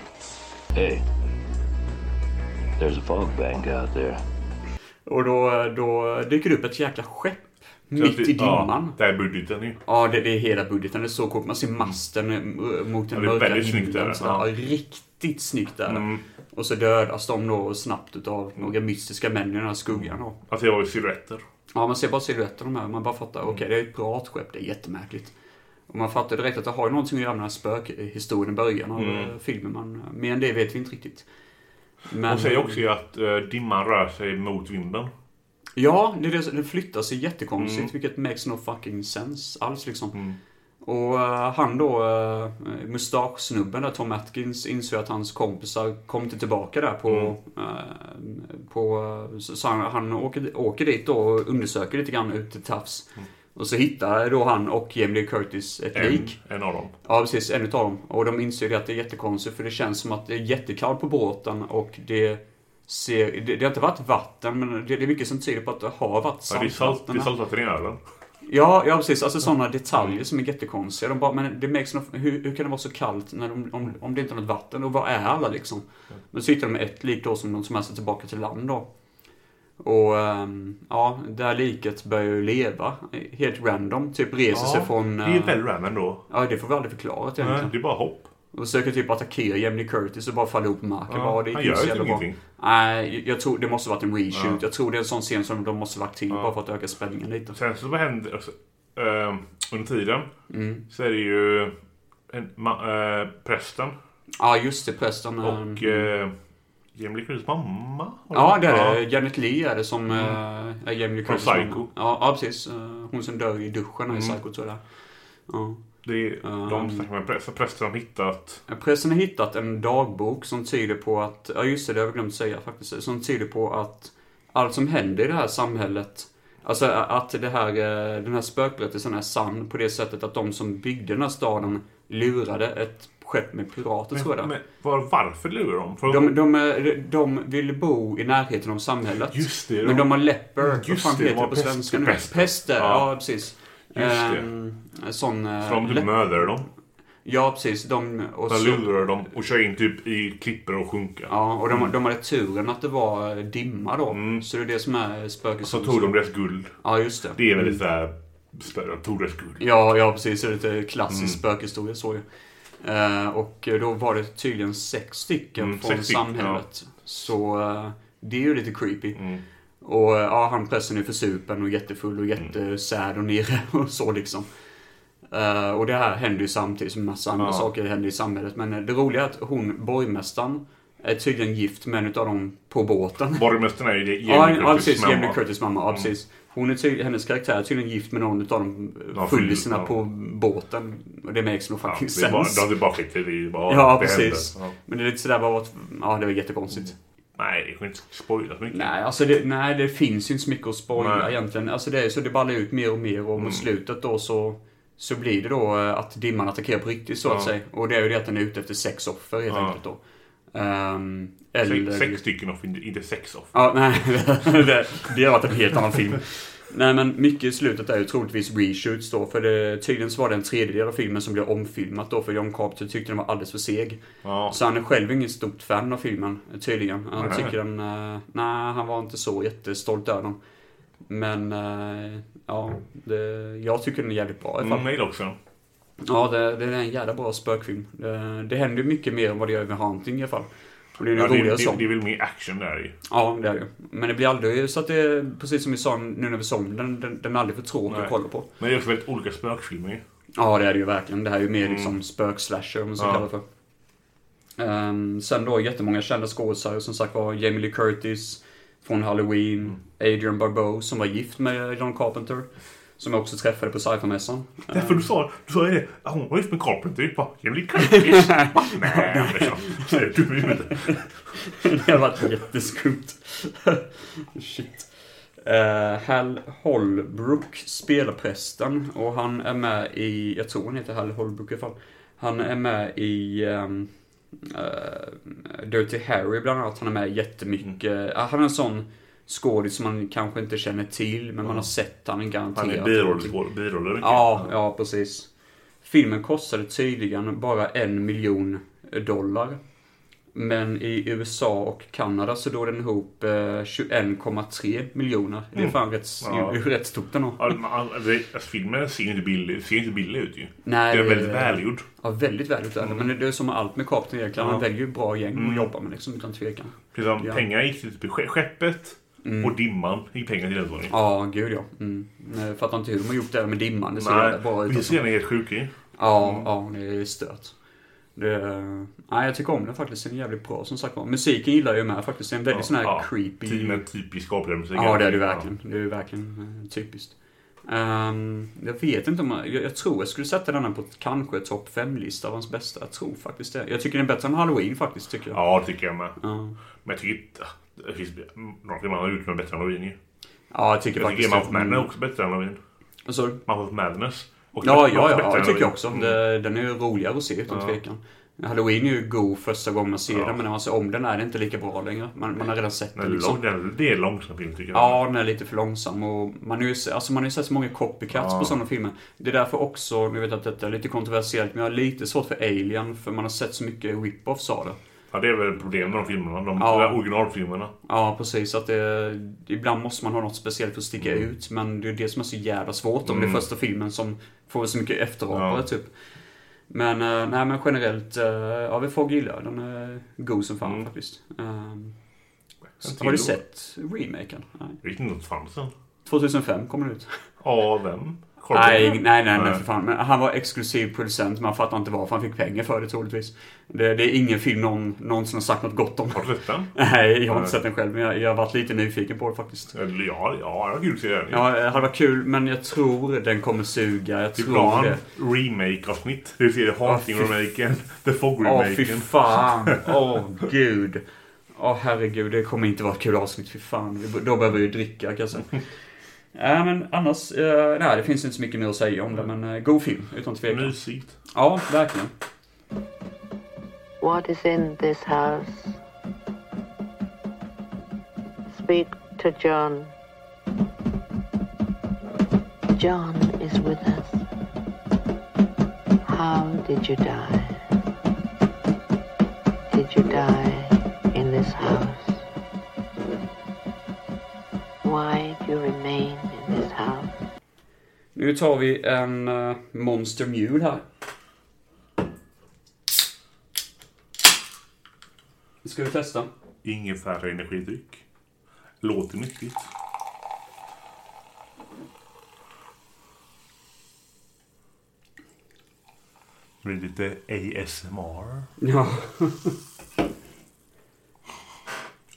Hey, there's a fog bank out there.
och då, då dyker det upp ett jäkla skepp mitt i dimman.
Ja, där är budgeten ju.
Ja, det, det är hela budgeten. Det är så coolt. Man ser masten eh, mot den
Ja, det är
mörka
väldigt snyggt där,
så här.
ja. Mm.
Ja, riktigt snyggt där. Och så dödas de då snabbt utav några mystiska män i den här skuggan då.
Alltså jag har ju silhuetter.
Ja, man ser bara silhuetten av de här. Man bara fattar,
Mm.
okej, det är ett piratskepp. Det är jättemärkligt. Och man fattar direkt att det har ju någonting att göra med den här spökhistorien i början av eh, filmen. Man, mer än det vet vi inte riktigt. Men,
Mm. De säger också ju att eh, dimman rör sig mot vinden.
Ja, det, är det, den flyttar sig jättekonstigt, vilket makes no fucking sense alls liksom. Och eh, han då, uh, mustaschsnubben där, Tom Atkins, insåg att hans kompisar kom inte tillbaka där på... eh, på så, så han, han åker, åker dit då och undersöker lite grann ute till tafs. Och så hittar då han och Jamie Lee Curtis ett
En,
lik.
en av dem.
Ja, precis. En utav dem. Och de inser ju att det är jättekonstigt för det känns som att det är jättekallt på båten och det ser... Det, det har inte varit vatten, men det, det är mycket som tyder på att det har varit
Ja, det är salt- det
saltvatten.
är
här.
saltvatten i ölen.
Ja, ja, precis. Alltså sådana detaljer som är jättekonstiga. De bara, men det makes no, hur, hur kan det vara så kallt när de, om, om det inte är något vatten? Och vad är alla liksom? Men så hittar de ett lik då som de som är sig tillbaka till land då. Och ehm, ja, det här liket börjar ju leva. Helt random. Typ reser sig från...
det
eh,
är väl ram ändå.
Ja, det får vi aldrig förklarat egentligen.
Det är bara hopp.
Och försöker typ attackera Jamie Lee Curtis och bara falla ihop på marken.
Ja,
bara, det gick
han
inte
gör
så
ju
jävla bra.
ingenting.
Nej, jag tror det måste varit en reshoot. Jag tror det är en sån scen som de måste lagt till bara för att öka spänningen lite.
Sen så vad händer alltså, eh, under tiden
Mm.
så är det ju en, ma, eh, prästen
Ja, just det. Prästen.
och
eh,
eh, Jamie Lee Curtis mamma.
ja, det är det. Janet Lee är det som eh, är Jamie Lee
Mm. Från
Curtis. mamma.
Psycho. Mm.
Ja, ja, precis. Eh, Hon som dör i duschen i Psycho tror jag det är. Ja.
det är de snackar med prästen. Prästen har hittat
Prästen har hittat en dagbok som tyder på att, ja just det, det har jag glömt säga faktiskt, som tyder på att allt som händer i det här samhället, alltså att det här, eh, den här spökberättelsen är sann på det sättet att de som byggde den här staden lurade ett skepp med pirater tror jag det
men
är.
var, varför lurar de? För
de, de, eh, de vill bo i närheten av samhället.
Just det, de-
men de har leper.
Just
Vad fan
det, de
heter det,
har
på
pest-
svenska nu?
pest.
Pester, ja.
Ja.
precis.
Just det.
Ehm, sån... eh,
för de typ
läpp-
mördar dem.
ja, precis. De, och
De
så-
lurar dem och kör in typ i klippor och sjunka.
Ja, och
Mm.
de, de hade turen att det var dimma då. Så det är det som är spöket.
Så tog de deras guld.
Ja, just det.
Alltså, Det är väldigt såhär... spö- De tog deras guld.
Ja, ja precis. Det är lite klassisk
Mm.
spökhistoria så ju. Eh, och då var det tydligen sex stycken
Mm,
från
sex stycken,
samhället. Så eh, det är ju lite creepy.
Mm. Mm.
Och eh, ja, han pressen är försupen och jättefull och jättesärd och nere och så liksom. Eh, och det här händer ju samtidigt som massa andra
Ja.
saker händer i samhället. Men eh, det roliga är att hon, borgmästaren, är tydligen gift med en av dem på båten.
Borgmästaren är ju det-
Ja,
Jamie
ja,
Curtis
precis.
mamma. Mm.
Jamie Curtis mamma. Ja, precis. Hon är ty- hennes karaktär är tydligen gift med någon av de
Ja,
fullisarna
ja.
på båten. Och det makes no
Ja,
fucking
det är bara,
sense.
de är bara skiter i det. det. är Bara,
Ja,
det
precis.
händer. Mm.
Men det är lite sådär bara att, ja det var jättekonstigt.
Ja. Nej, det kan inte spoila så mycket.
Nej, alltså det, nej, det finns ju inte så mycket att spoila
Nej. Mm.
egentligen. Alltså det är ju så det ballar ut mer och mer och mot slutet då så, så blir det då eh, att dimman attackerar på riktigt så att
Ja.
säga. Och det är ju det att den är ute efter sex offer helt
Ja.
enkelt då. Ehm, eller...
Sex, sex stycken och inte sex off.
Ja, nej. Det, det har varit en helt annan film. Nej men mycket i slutet är ju troligtvis reshoots då. För det, tydligen så var det en tredjedel av filmen som blev omfilmat då. För John Carpenter tyckte den var alldeles för seg.
Ja.
Så han är själv ingen stort fan av filmen tydligen. Han
Nej.
tycker den... eh, nej, han var inte så jättestolt över den. Men eh, ja, det, jag tycker den är jävligt bra i alla fall.
Mm, mig också.
Ja, det, det är en jävla bra spökfilm. Det, det händer ju mycket mer än vad det gör med Hunting i alla fall. Och det är ju
Ja,
en
det,
roligare
det,
sång.
det är väl mer action där i.
Ja, det är det ju. Men det blir aldrig så att det är precis som vi sa nu när vi såg den, den, den är aldrig för tråkig
Nej.
att kolla på.
Men det är också väldigt olika spökfilmer.
Ja, det är det ju verkligen. Det här är ju mer liksom spökslasher om man ska
Mm. Ja.
kalla det för. Ehm, sen då jättemånga kända skådisar, som sagt var Jamie Lee Curtis från Halloween,
Mm.
Adrian Barbeau som var gift med John Carpenter, som jag också träffade på sci-fi-mässan.
Därför du sa, du sa ju det. Ah, Hon var gift med Carpenter. Jag bara, Jamie Lee Curtis. Va? Nej, Andersson. Säger du i huvudet.
det har varit jätteskumt. Shit. Eh, Hal Holbrook spelar prästen och han är med i, jag tror han heter Hal Holbrook i alla fall. Han är med i ehm, eh, Dirty Harry bland annat. Han är med jättemycket. Ah, han är en sån skådis som man kanske inte känner till men man har sett han garanterat.
Han är birollskådis. Biroller. mycket.
Ja, ja precis. Filmen kostade tydligen bara en miljon dollar. Men i USA och Kanada så drog den ihop eh, 21,3 miljoner. Det är fan rätt,
Mm. Ja.
det är rätt stort ändå.
Ja, men, Alltså, alltså, filmen ser ju inte billig, ser ju inte billig ut ju.
Nej,
den är
det-
väldigt välgjord.
Ja, väldigt väl utöver. Men det är som med allt med Carpenter egentligen. Han
Mm. Ja. Mm.
väljer ju bra gäng att jobba med liksom, utan tvekan.
Liksom,
Ja. Mm.
Pengarna gick till skepp- skeppet och dimman gick pengar till eldvåningen.
Ja, gud ja. Mm. Jag fattar inte hur de har gjort det här med dimman. Det ser jävla bra
Nej,
ut.
vi
alltså.
ser den helt sjuk i.
Ja,
Mm.
ja, det är stört. Det, nej, jag tycker om den faktiskt. Den är jävligt bra som sagt var. Musiken gillar jag ju med faktiskt. Det är en väldigt sån här creepy...
Typ Med typisk skapelmusik.
Ja, det är det verkligen. Det är ju verkligen eh, typiskt. Ehm, jag vet inte om jag, jag, jag tror jag skulle sätta denna på kanske topp 5-lista av hans bästa. Jag tror faktiskt det. Jag tycker den är bättre än Halloween faktiskt, tycker jag. Ja,
Ja, det tycker jag med.
ja.
Men jag tycker inte... Det finns några filmer han har gjort som är bättre än Halloween ju.
jag tycker
Jag tycker
faktiskt
Mouth of Madness är
Mm.
också bättre än Halloween.
Vad sa du?
Mouth of Madness. Och
Ja,
Mouth
ja,
of
ja,
Madness
ja,
är
det tycker jag
Halloween.
också. Det, den är ju roligare att se utan tvekan. Halloween är ju god första gången man ser den, men när man ser om den är det inte lika bra längre. Man, man har redan sett
Den
den
är
liksom.
lång, den, det är en långsam film tycker jag.
Ja, den är lite för långsam och man har ju, se- alltså man har ju sett så många copycats på sådana filmer. Det är därför också, nu vet jag att detta är lite kontroversiellt, men jag har lite svårt för Alien för man har sett så mycket rip-offs av det.
Ja, det är väl problemet med de filmerna. De
Ja.
de där originalfilmerna.
Ja, precis. Att det, ibland måste man ha något speciellt för att sticka ut, men det är det som är så jävla svårt om det är första filmen som får så mycket efterapare,
Ja.
typ. Men, eh, nej, men generellt, eh, ja, vi får gilla den. är god som fan faktiskt. Ehm,
En
har du
till då.
sett remaken? Nej.
Jag vet inte om det fanns en.
2005 kom den ut.
Av vem?
Nej, nej,
Carpenter?
nej, men för fan. Men han var exklusiv producent, man fattar inte varför han fick pengar för det troligtvis. Det, det är ingen film någon någonsin har sagt något gott om.
Har du sett den?
Nej, jag har inte sett den själv, men jag, jag har varit lite nyfiken på det faktiskt.
Eller Ja, ja, det var kul att se den.
Ja, det hade varit kul, men jag tror den kommer suga. Jag
Det
tror
var
det.
en remake-avsnitt. Det vill säga Haunting-remaken, The
Åh, fy
Fog-remaken.
fan. Åh, gud. Åh, herregud. Det kommer inte vara ett kul avsnitt. Fy fan. Vi- Då behöver vi ju dricka, kan jag säga. Nej, men annars. eh, nej, det finns inte så mycket mer att säga om det, men eh, god film, utan tvekan.
Mysigt.
Ja, verkligen.
What is in this house? Speak to John. John is with us. How did you die? Did you die in this house? Why do you remain in this house?
Nu tar vi en eh, Monster Mule här. Ska vi testa?
Ingefära energidryck. Låter nyttigt. Det blir lite ASMR.
Ja.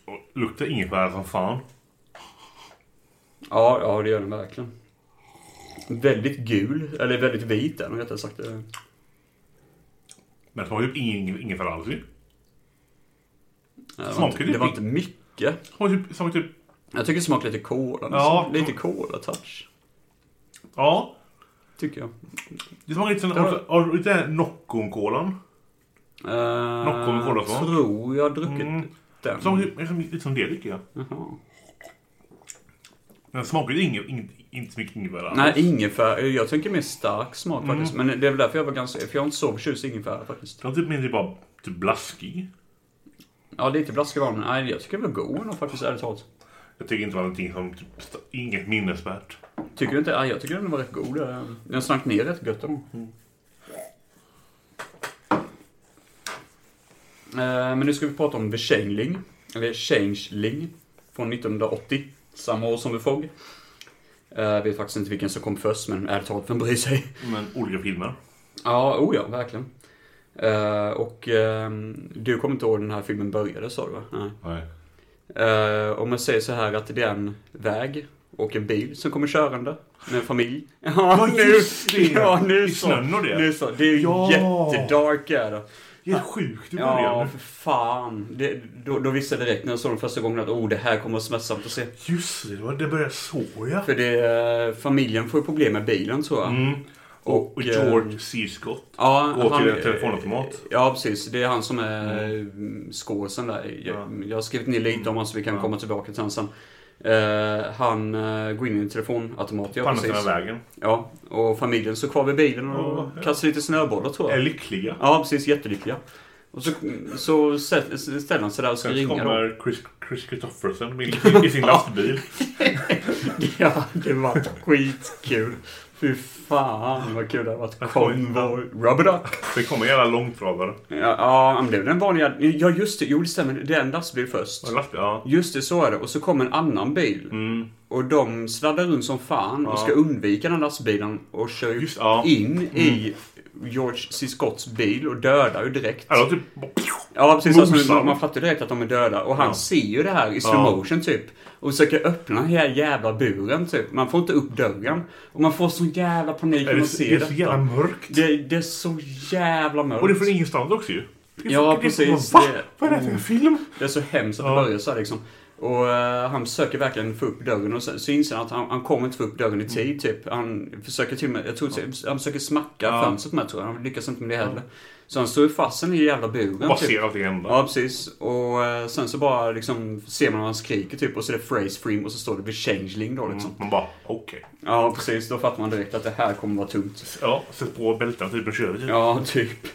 Och luktar ingefära som fan.
Ja, ja, det gör den verkligen. Väldigt gul, eller väldigt vit är den rättare sagt.
Men det smakar typ ingen- ingefära alls ju.
Det var,
Smakar
inte,
det
det var
vitt?
inte mycket.
Smakar typ, smakar typ...
Jag tycker det smakar lite cola.
Ja.
nästan. Lite cola-touch,
Ja.
tycker jag.
Det smakar lite som...
Ja.
Har du- Har du inte den här Nocconcolan?
Eh,
Nocco med cola på.
tror jag har druckit
Mm.
den.
Det Smakar typ, liksom, lite som det tycker jag.
Jaha.
Den smakar ju ingen, ingen, inte så mycket ingefära. alls.
Nej, ingefära. Jag tänker mer stark smak
Mm.
faktiskt. Men det är väl därför jag var ganska... För jag är inte så förtjust i ingefära faktiskt.
Den är typ mindre bara typ blaskig.
Ja, lite blaskig var den. Nej, jag tycker den var god ändå faktiskt, ärligt talat.
Jag tycker inte det var någonting som... Typ, st- inget minnesvärt.
Tycker du inte? Ja, jag tycker den var rätt god. Eh, Den slank ner rätt gött då. Eh, Men nu ska vi prata om The Changeling. Eller Changeling. Från 1980. Samma år som The Fog. Eh, Jag vet faktiskt inte vilken som kom först, men ärligt talat, vem bryr sig?
Men olika filmer.
Ja, oh ja, verkligen. Eh, och ehm, du kommer inte ihåg när den här filmen började, sa du va? Nej.
Nej.
Eh, om man säger så här att det är en väg och en bil som kommer körande med en familj. Ja, nu,
just det.
ja nu
I
så!
snön och det.
Nu så! Det är ju
Ja.
jättedark är det.
Det är helt sjukt i
Ja,
början.
för fan. Det, då, då visste jag direkt när jag såg den första gången att oh, det här kommer att vara smärtsamt att se.
Just det, det, var- det började så ja.
För det, eh, familjen får ju problem med bilen tror jag.
Mm. Och,
och, eh,
George C. Scott.
Ja,
Gå till en telefonautomat.
Ja, precis. Det är han som är mm. skåsen där. Jag, jag har skrivit ner lite om honom så vi kan komma tillbaka till honom sen. Eh, han eh, går in i en telefonautomat,
På
ja
andra sidan
precis.
vägen.
Ja, och familjen står kvar vid bilen och
Ja, ja.
kastar lite snöbollar tror
Är
jag.
lyckliga.
Ja, precis. Jättelyckliga. Och så, så sätt- ställer han sig där och ska
Sen
ringa. då.
kommer Chris, Chris Christofferson med- i sin lastbil.
Ja, det var skitkul. Fy fan vad kul det hade varit.
kommer-
Konvoj. Rub it up.
Sen kommer jävla långtradare.
Ja, ja, men det är väl den vanliga... Ja, just det. Jo, det stämmer. Det är en lastbil först.
Och lastbil, Ja.
Just det, så är det. Och så kommer en annan bil.
Mm.
Och de sladdar runt som fan och ska undvika den lastbilen och kör
Just- ja. Mm.
in i George C. Scotts bil och dödar ju direkt.
Ja, det var typ...
Ja, precis. Alltså,
Mosar.
man, man fattar ju direkt att de är döda. Och han ser ju det här i slow motion typ. Och försöker öppna den här jävla buren typ. Man får inte upp dörren. Och man får sån jävla panik
Det
när
är
man
så,
ser
det är så
det.
jävla mörkt.
Det, det är så jävla mörkt.
Och det är från ingenstans också ju. Det är
Ja,
så- det är
precis.
Så, va?
Det- Mm.
Vad är det här för en film?
Det är så hemskt att det börjar så här, liksom. Och eh, han försöker verkligen få upp dörren och sen så inser han att han, han kommer inte få upp dörren
Mm.
i tid typ. Han försöker till och med, jag tror typ, han försöker smacka fönstret med tror jag. Han lyckas inte med det heller. Så han står ju fast i den jävla buren typ.
Bara ser allting hända.
Ja, precis. Och eh, sen så bara liksom ser man hur han skriker typ och så är det phrase frame och så står det vid changeling då liksom.
Man bara, okej.
Ja, precis. Då fattar man direkt att det här kommer vara tungt.
Ja, sätt på bältena typ och kör vi.
Ja, typ.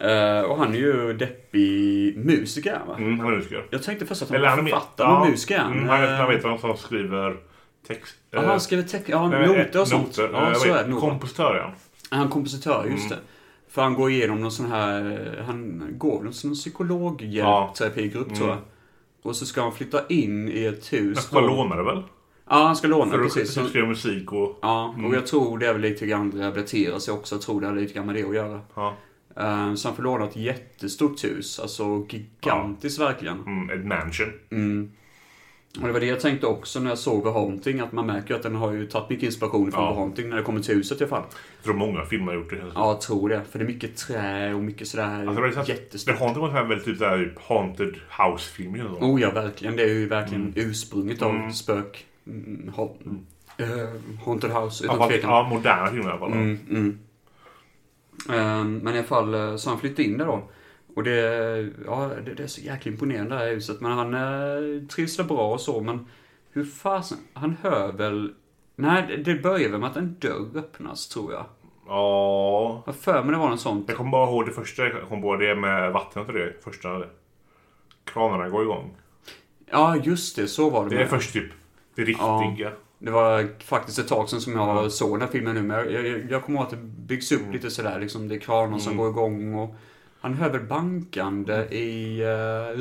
Eh, och han är ju deppig musiker va?
Mm, han är musiker.
Jag tänkte först att han
Eller
var
han är
författare och
ja,
musiker.
Mm, han,
Eh,
han vet vad han skriver text...
Ja,
eh,
han skriver text, ja,
nej, men, eh,
noter och sånt.
noter. Eh,
Ja,
jag
så
vet, Mm.
är det nog.
Kompositör, ja.
Är han kompositör, just det. För han går igenom någon sån här, eh, han går väl som en psykologhjälpterapigrupp
Mm.
tror jag. Och så ska han flytta in i ett hus.
Han ska
då.
låna det väl?
Ja, han ska låna,
För att typ Mm.
precis. Så,
skriva musik och...
ja, och jag tror det är väl lite grann rehabilitera sig också. Jag tror det har lite grann med det att göra.
Ja.
Eh, Så han får låna ett jättestort hus, alltså gigantiskt verkligen.
Mm, ett mansion.
Och det var det jag tänkte också när jag såg The Haunting, att man märker ju att den har ju tagit mycket inspiration från
Ja.
The Haunting när det kommer till huset i alla fall.
Jag tror många filmer har gjort det.
Ja, jag tror det. För det är mycket trä och mycket sådär
Alltså, det, är så här,
jättestort.
det har inte varit så här väldigt typ, så här, typ haunted house-film eller så.
Oh ja, verkligen. Det är ju verkligen
Mm.
ursprunget av spök... Mm, ha, eh, haunted House, utan
Ja,
tvekan.
ja, moderna filmer i alla fall.
Mm, mm. Ehm, men i alla fall, eh, så han flyttade in där då. Och det, ja, det, det är så jäkla imponerande det här huset. Men han eh, trivs där bra och så, men hur fasen... Han hör väl... Nej, det- det börjar väl med att en dörr öppnas, tror jag.
Ja.
Jag har för mig det var en sån.
Jag kommer bara ihåg det första jag kom på. Det med vattnet och det. Första... Kranarna går igång.
Ja, just det. Så var det.
Det är
med.
först typ det riktiga.
Det var faktiskt ett tag sedan som jag såg
Mm.
den här filmen nu, men jag, jag, jag kommer ihåg att det byggs upp lite sådär. Liksom, det är kranar som går igång och Han hör väl
Mm.
bankande i eh,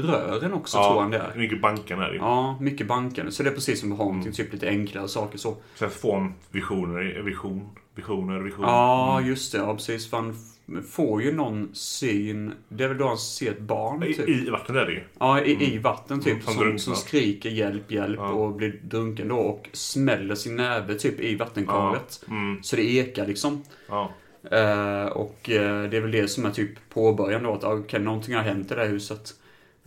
rören också, tror han det är.
mycket bankan är det.
Ja, mycket bankande. Så det är precis som med
Mm.
Haunting, typ lite enklare saker så.
Sen får han visioner, vision, visioner, vision.
Ja,
Mm.
just det. Ja, precis. För han f- får ju någon syn. Det är väl då han ser ett barn,
I,
typ.
I vattnet är det ju.
Ja, i, i vatten typ.
Mm, som
som,
drunknar.
som skriker hjälp, hjälp och blir drunken då och smäller sin näve typ i vattenkaret.
mm.
Så det ekar liksom.
Ja.
Eh, och eh, det är väl det som är typ påbörjan då, att ah, okej, någonting har hänt i det här huset.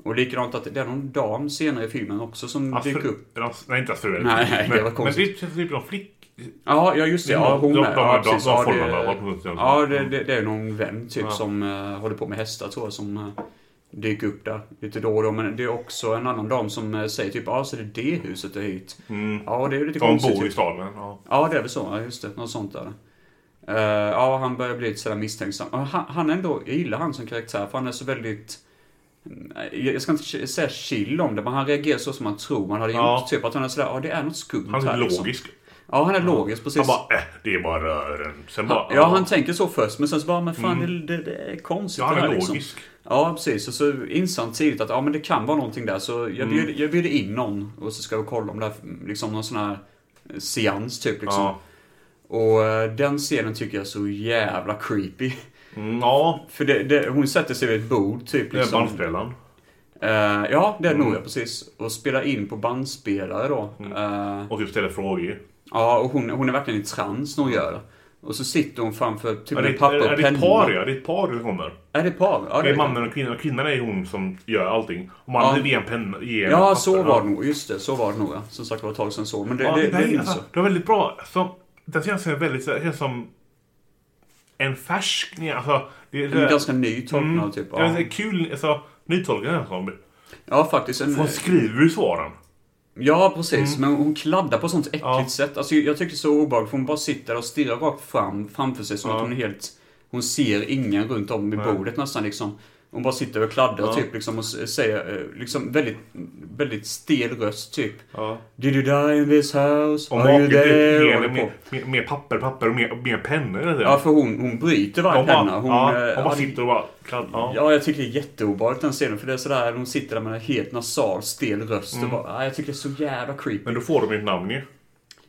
Och likadant att det är någon dam senare i filmen också som
Hans
dyker
fru-
upp.
eller hans- Nej, inte hans fru.
Nej, nej, det
men,
var konstigt.
Men det är typ någon flick...
Ja, ja just det. Ja, hon
de-
med.
de-
Ja,
de-
precis.
de
Ja,
formarna
det-
var på 70-talet.
Ja, det, det, det är någon vän typ som eh, håller på med hästar tror jag som eh, dyker upp där lite då och då. Men det är också en annan dam som eh, säger typ ja, ah, så det är det huset du är hit.
Mm.
Ja, det är ju lite
De
konstigt.
bor i
typ.
staden. Ja.
Ja, det är väl så. Ja, just det. Något sånt där. Eh, ja, han börjar bli lite sådär misstänksam. Och han, han ändå, jag gillar han som karaktär för han är så väldigt... Nej, Jag ska inte k- säga chill om det, men han reagerar så som man tror man hade
Ja.
gjort. Typ att han är sådär, ja det är något skumt
Han är
här, liksom.
logisk.
Ja, han är logisk, precis.
Han bara, äh, det är bara rören. Sen bara...
Ja, han typ tänker så först, men sen så bara, men fan det, det, det är konstigt
Mm. Ja, han
det här,
är
liksom.
logisk.
Ja, precis. Och så inser han tidigt att ja, men det kan vara någonting där, så
Mm.
jag bjuder, jag bjuder in någon och så ska vi kolla om det här, liksom någon sån här seans typ liksom.
Ja.
Och eh, den scenen tycker jag är så jävla creepy.
Mm, ja,
För det, det, hon sätter sig vid ett bord typ.
det är Mm.
Liksom.
bandspelaren.
Eh, ja, det är nog jag precis. Och spelar in på bandspelare då. Eh,
Och typ ställer frågor.
ja, och hon, hon är verkligen i trans när hon gör det. Och så sitter hon framför typ
Är det,
med papper
är,
och
är det ett
penna.
par, ja? Det är ett par som kommer.
Är det par? Ja,
Det är
det-
mannen och kvinnan. Och kvinnan är hon som gör allting. Och
Ja.
mannen ger en penna. ger en
Ja,
papper.
så var det nog. Just det, så var det nog ja. Som sagt var ett tag sedan så. Men det,
Ja,
det, det,
nej,
är inte så.
alltså, det var väldigt bra. Som, den känns väldigt så här- känns som en färsk... nej, Alltså, det, Mm.
Det är ganska ny tolkning av typ.
ja. det
Ja,
är kul. Alltså, nytolkningen är som...
ja faktiskt. En,
Hon skriver ju svaren.
ja, precis. Men hon kladdar på sånt äckligt
Mm. Ja.
sätt. Alltså, jag tycker det är så obehagligt för hon bara sitter och stirrar rakt fram framför sig som att hon är helt... Hon ser ingen runt om i bordet nästan liksom. Hon bara sitter och kladdar typ liksom och s- säger eh, liksom väldigt, väldigt stel röst typ.
Ja.
Did you die in this house?
Och
Are you
maken
there? Och
ger
håller
henne
på.
typ mer, mer, mer papper, papper och mer, mer pennor. eller?
Ja, för hon, hon bryter varje
hon bara,
penna. Hon,
ja,
eh,
hon bara
hade-
sitter och bara kladdar. Ja.
Ja, jag tycker det är jätteobehagligt den scenen. För det är sådär, de sitter där med en helt nasal, stel röst
Mm.
och bara, "Ah, jag tycker det är så jävla creepy.
Men då får de ju ett namn ju.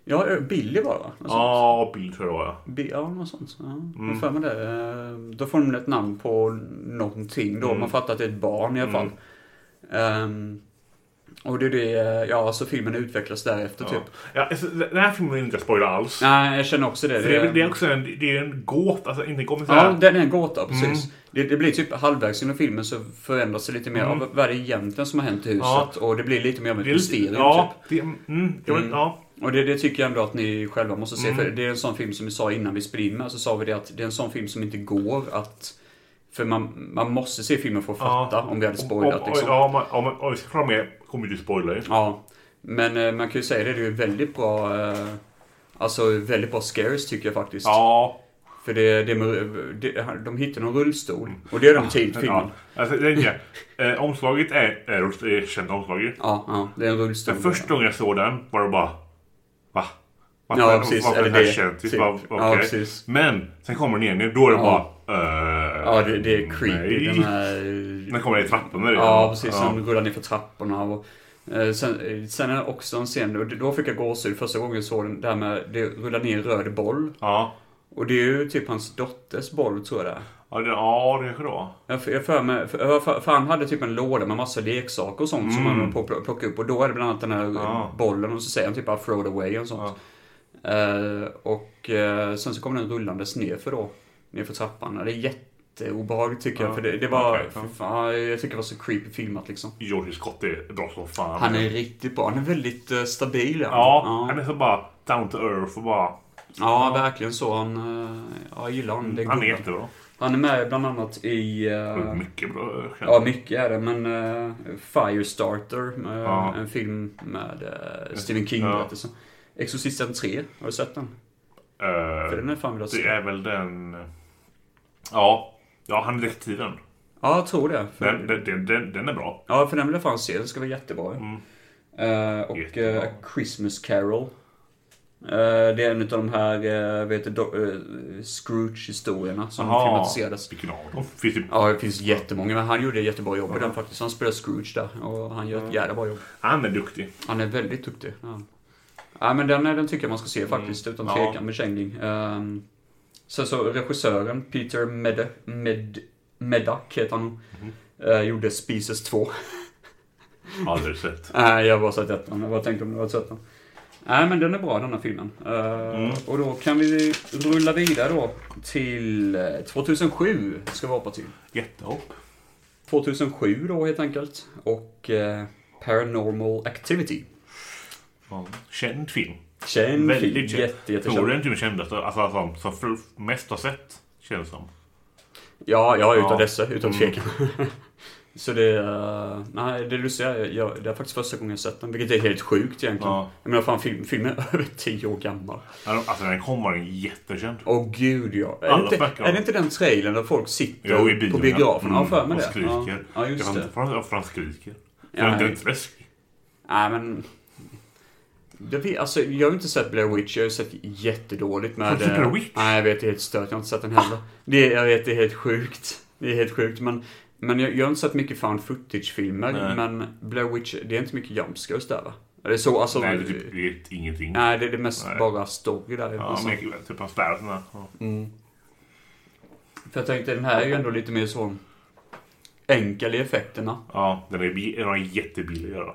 Ja, eh, Billy var det, va? Något sånt.
Ja, Mm. Bill tror jag det var, ja.
Bi- Ja, något sånt. Ja, jag har för mig det. Eh, Då får de ett namn på någonting
Mm.
då. Man fattar att det är ett barn i alla fall. Ehm, och det är det, eh, ja, så filmen utvecklas därefter
ja.
typ.
ja alltså, den här filmen vill inte jag spoila alls.
Nej, jag känner också det.
För det, är, det är också en, det är en gåta, alltså inte en gåta. men så här-
Ja, den är en gåta, precis.
Mm.
Det, det blir typ halvvägs genom filmen så förändras det lite mer. av Vad är det egentligen som har hänt i huset?
Mm. Ja.
Och det blir lite mer av ett
det är lite,
mysterium.
ja,
Typ.
det, mm, jag vet, ja,
Och det, det tycker jag ändå att ni själva måste se.
Mm.
För det är en sån film som vi sa innan vi spelade in med. Så sa vi det att det är en sån film som inte går att... För man, man måste se filmen för att fatta om vi hade spoilat
om,
liksom.
om, om, om, om, om vi ska fram med kommer du spoila ju.
Ja. Men eh, man kan ju säga det, det är ju väldigt bra... Eh, alltså väldigt bra scares tycker jag faktiskt.
Ja.
För det, det, det, de hittar någon rullstol. Och det är de tidigt i filmen.
ja. Alltså, det är inte, eh, omslaget är, är, är känt omslaget.
Ja, ja, det är en rullstol.
Den första gången jag såg den var det bara... Va? Varför,
Ja, precis.
Varför är
Eller
det här
det,
känt? Typ.
typ.
Bara,
Ja,
okej.
precis.
Men sen kommer den igen då är det
Ja.
bara... eh,
Ja, det, det är creepy.
nej.
Den här
Den kommer i trappan med det.
Ja, precis. Sen rullar ner för trapporna. Och, eh, sen, eh, sen är det också en scen, och då fick jag gåshud första gången jag såg den, där med det rullar ner en röd boll.
Ja,
Och det är ju typ hans dotters boll tror jag det är.
ja det, ja, det kanske det var.
Jag för, jag för, mig, för, jag för, för han hade typ en låda med massa leksaker och sånt som han höll på att pl- plocka upp. Och då är det bland annat den här
Mm. Ja.
bollen och så säger han typ bara throw it away och sånt. Eh, och eh, sen så kommer den rullandes nerför då. Nerför trappan. Det är jätteobehagligt tycker jag. För det, det var,
Okej, ja.
fy fan, jag tycker det var så creepy filmat liksom.
George Scott är bra som fan.
Han är riktigt bra. Han är väldigt eh, stabil. är han.
Ja, han
ja.
är så bara down to earth och bara...
ja, verkligen så. Han, eh, ja, jag gillar honom. Det är
Han är
goda.
jättebra.
han är med bland annat i... eh,
Mycket bra. eh,
ja, mycket är det. Men eh, Firestarter, eh,
Ja.
en film med eh, Stephen King.
Ja.
berättelsen. Exorcisten 3, har du sett den?
Eh,
För den är fan vill jag
det
se.
är väl den... Ja, ja han är detektiven.
Ja, jag tror det. För,
Den, den, den, den, den är bra.
Ja, för den vill jag fan se. Den ska vara jättebra. ju. Eh, och
Mm. Jättebra.
eh, Christmas Carol. Eh, Det är en av de här eh, vet du, do- eh, Scrooge-historierna som
Jaha,
filmatiserades.
Vilken av dem? Finns typ- det...
Ja, det finns jättemånga, men han gjorde ett jättebra jobb i den faktiskt. Han spelar Scrooge där och han gör ett jävla bra jobb.
Han är duktig.
Han är väldigt duktig. Ja. Ja, men den, den tycker jag man ska se faktiskt, utan
Mm. Ja.
tvekan med Chengling. Ehm, sen så regissören Peter Mede, Med, Medak heter han.
Mhm.
Eh, gjorde Species 2.
Aldrig sett.
Nej, jag har bara sett ettan. Jag bara tänkte om du har sett den. Nej, men den är bra den här filmen. Eh,
Mm.
Och då kan vi rulla vidare då till eh, 2007 ska vi hoppa till.
Jättehopp.
2007 då helt enkelt. Och eh, Paranormal Activity.
Ja. Känd film.
Känd film.
Väldigt känd.
Jätte, jättekänd.
Tror du inte den kändaste? Alltså, som, som fl- mest har sett, känns som.
Ja, ja, utav
Ja.
dessa, utan
Mm.
tvekan. Så det, eh, nej, det du säger, jag, jag, det är faktiskt första gången jag sett den, vilket är helt sjukt egentligen.
Ja.
Jag menar fan, film, filmen är över 10 år gammal.
Alltså när den kom var den jättekänd.
Åh gud ja. Är det,
Alla
inte,
snackar om
är det
det.
inte den trailern där folk sitter
Jo, i
på
bion,
biografen? Ja,
Mm,
för mig
och
det.
skriker.
Ja, ja
jag
just
vet
det.
inte varför varför han skriker.
Ja,
Ja, den är
nej.
inte läskig.
Nej, men... Det, vi- alltså, jag har ju inte sett Blair Witch, jag har ju sett jättedåligt med...
Har du sett
eh,
Blair Witch? Ah.
Nej, jag vet, det är helt stört. Jag har inte sett den heller. Det, jag vet, det är helt sjukt. Det är helt sjukt, men... Men jag, jag har inte sett mycket found footage-filmer,
Nej.
men Blair Witch, det är inte mycket jumpscares där va? Är det så? Alltså...
Nej, du typ vet ingenting.
nej, det är det mest
Nej.
bara story där.
Ja,
alltså.
men jag- typ han svär och sådär. Ja.
För jag tänkte, den här är ju ändå lite mer så... Enkel i effekterna.
ja, den är, bi- den är jättebillig att göra.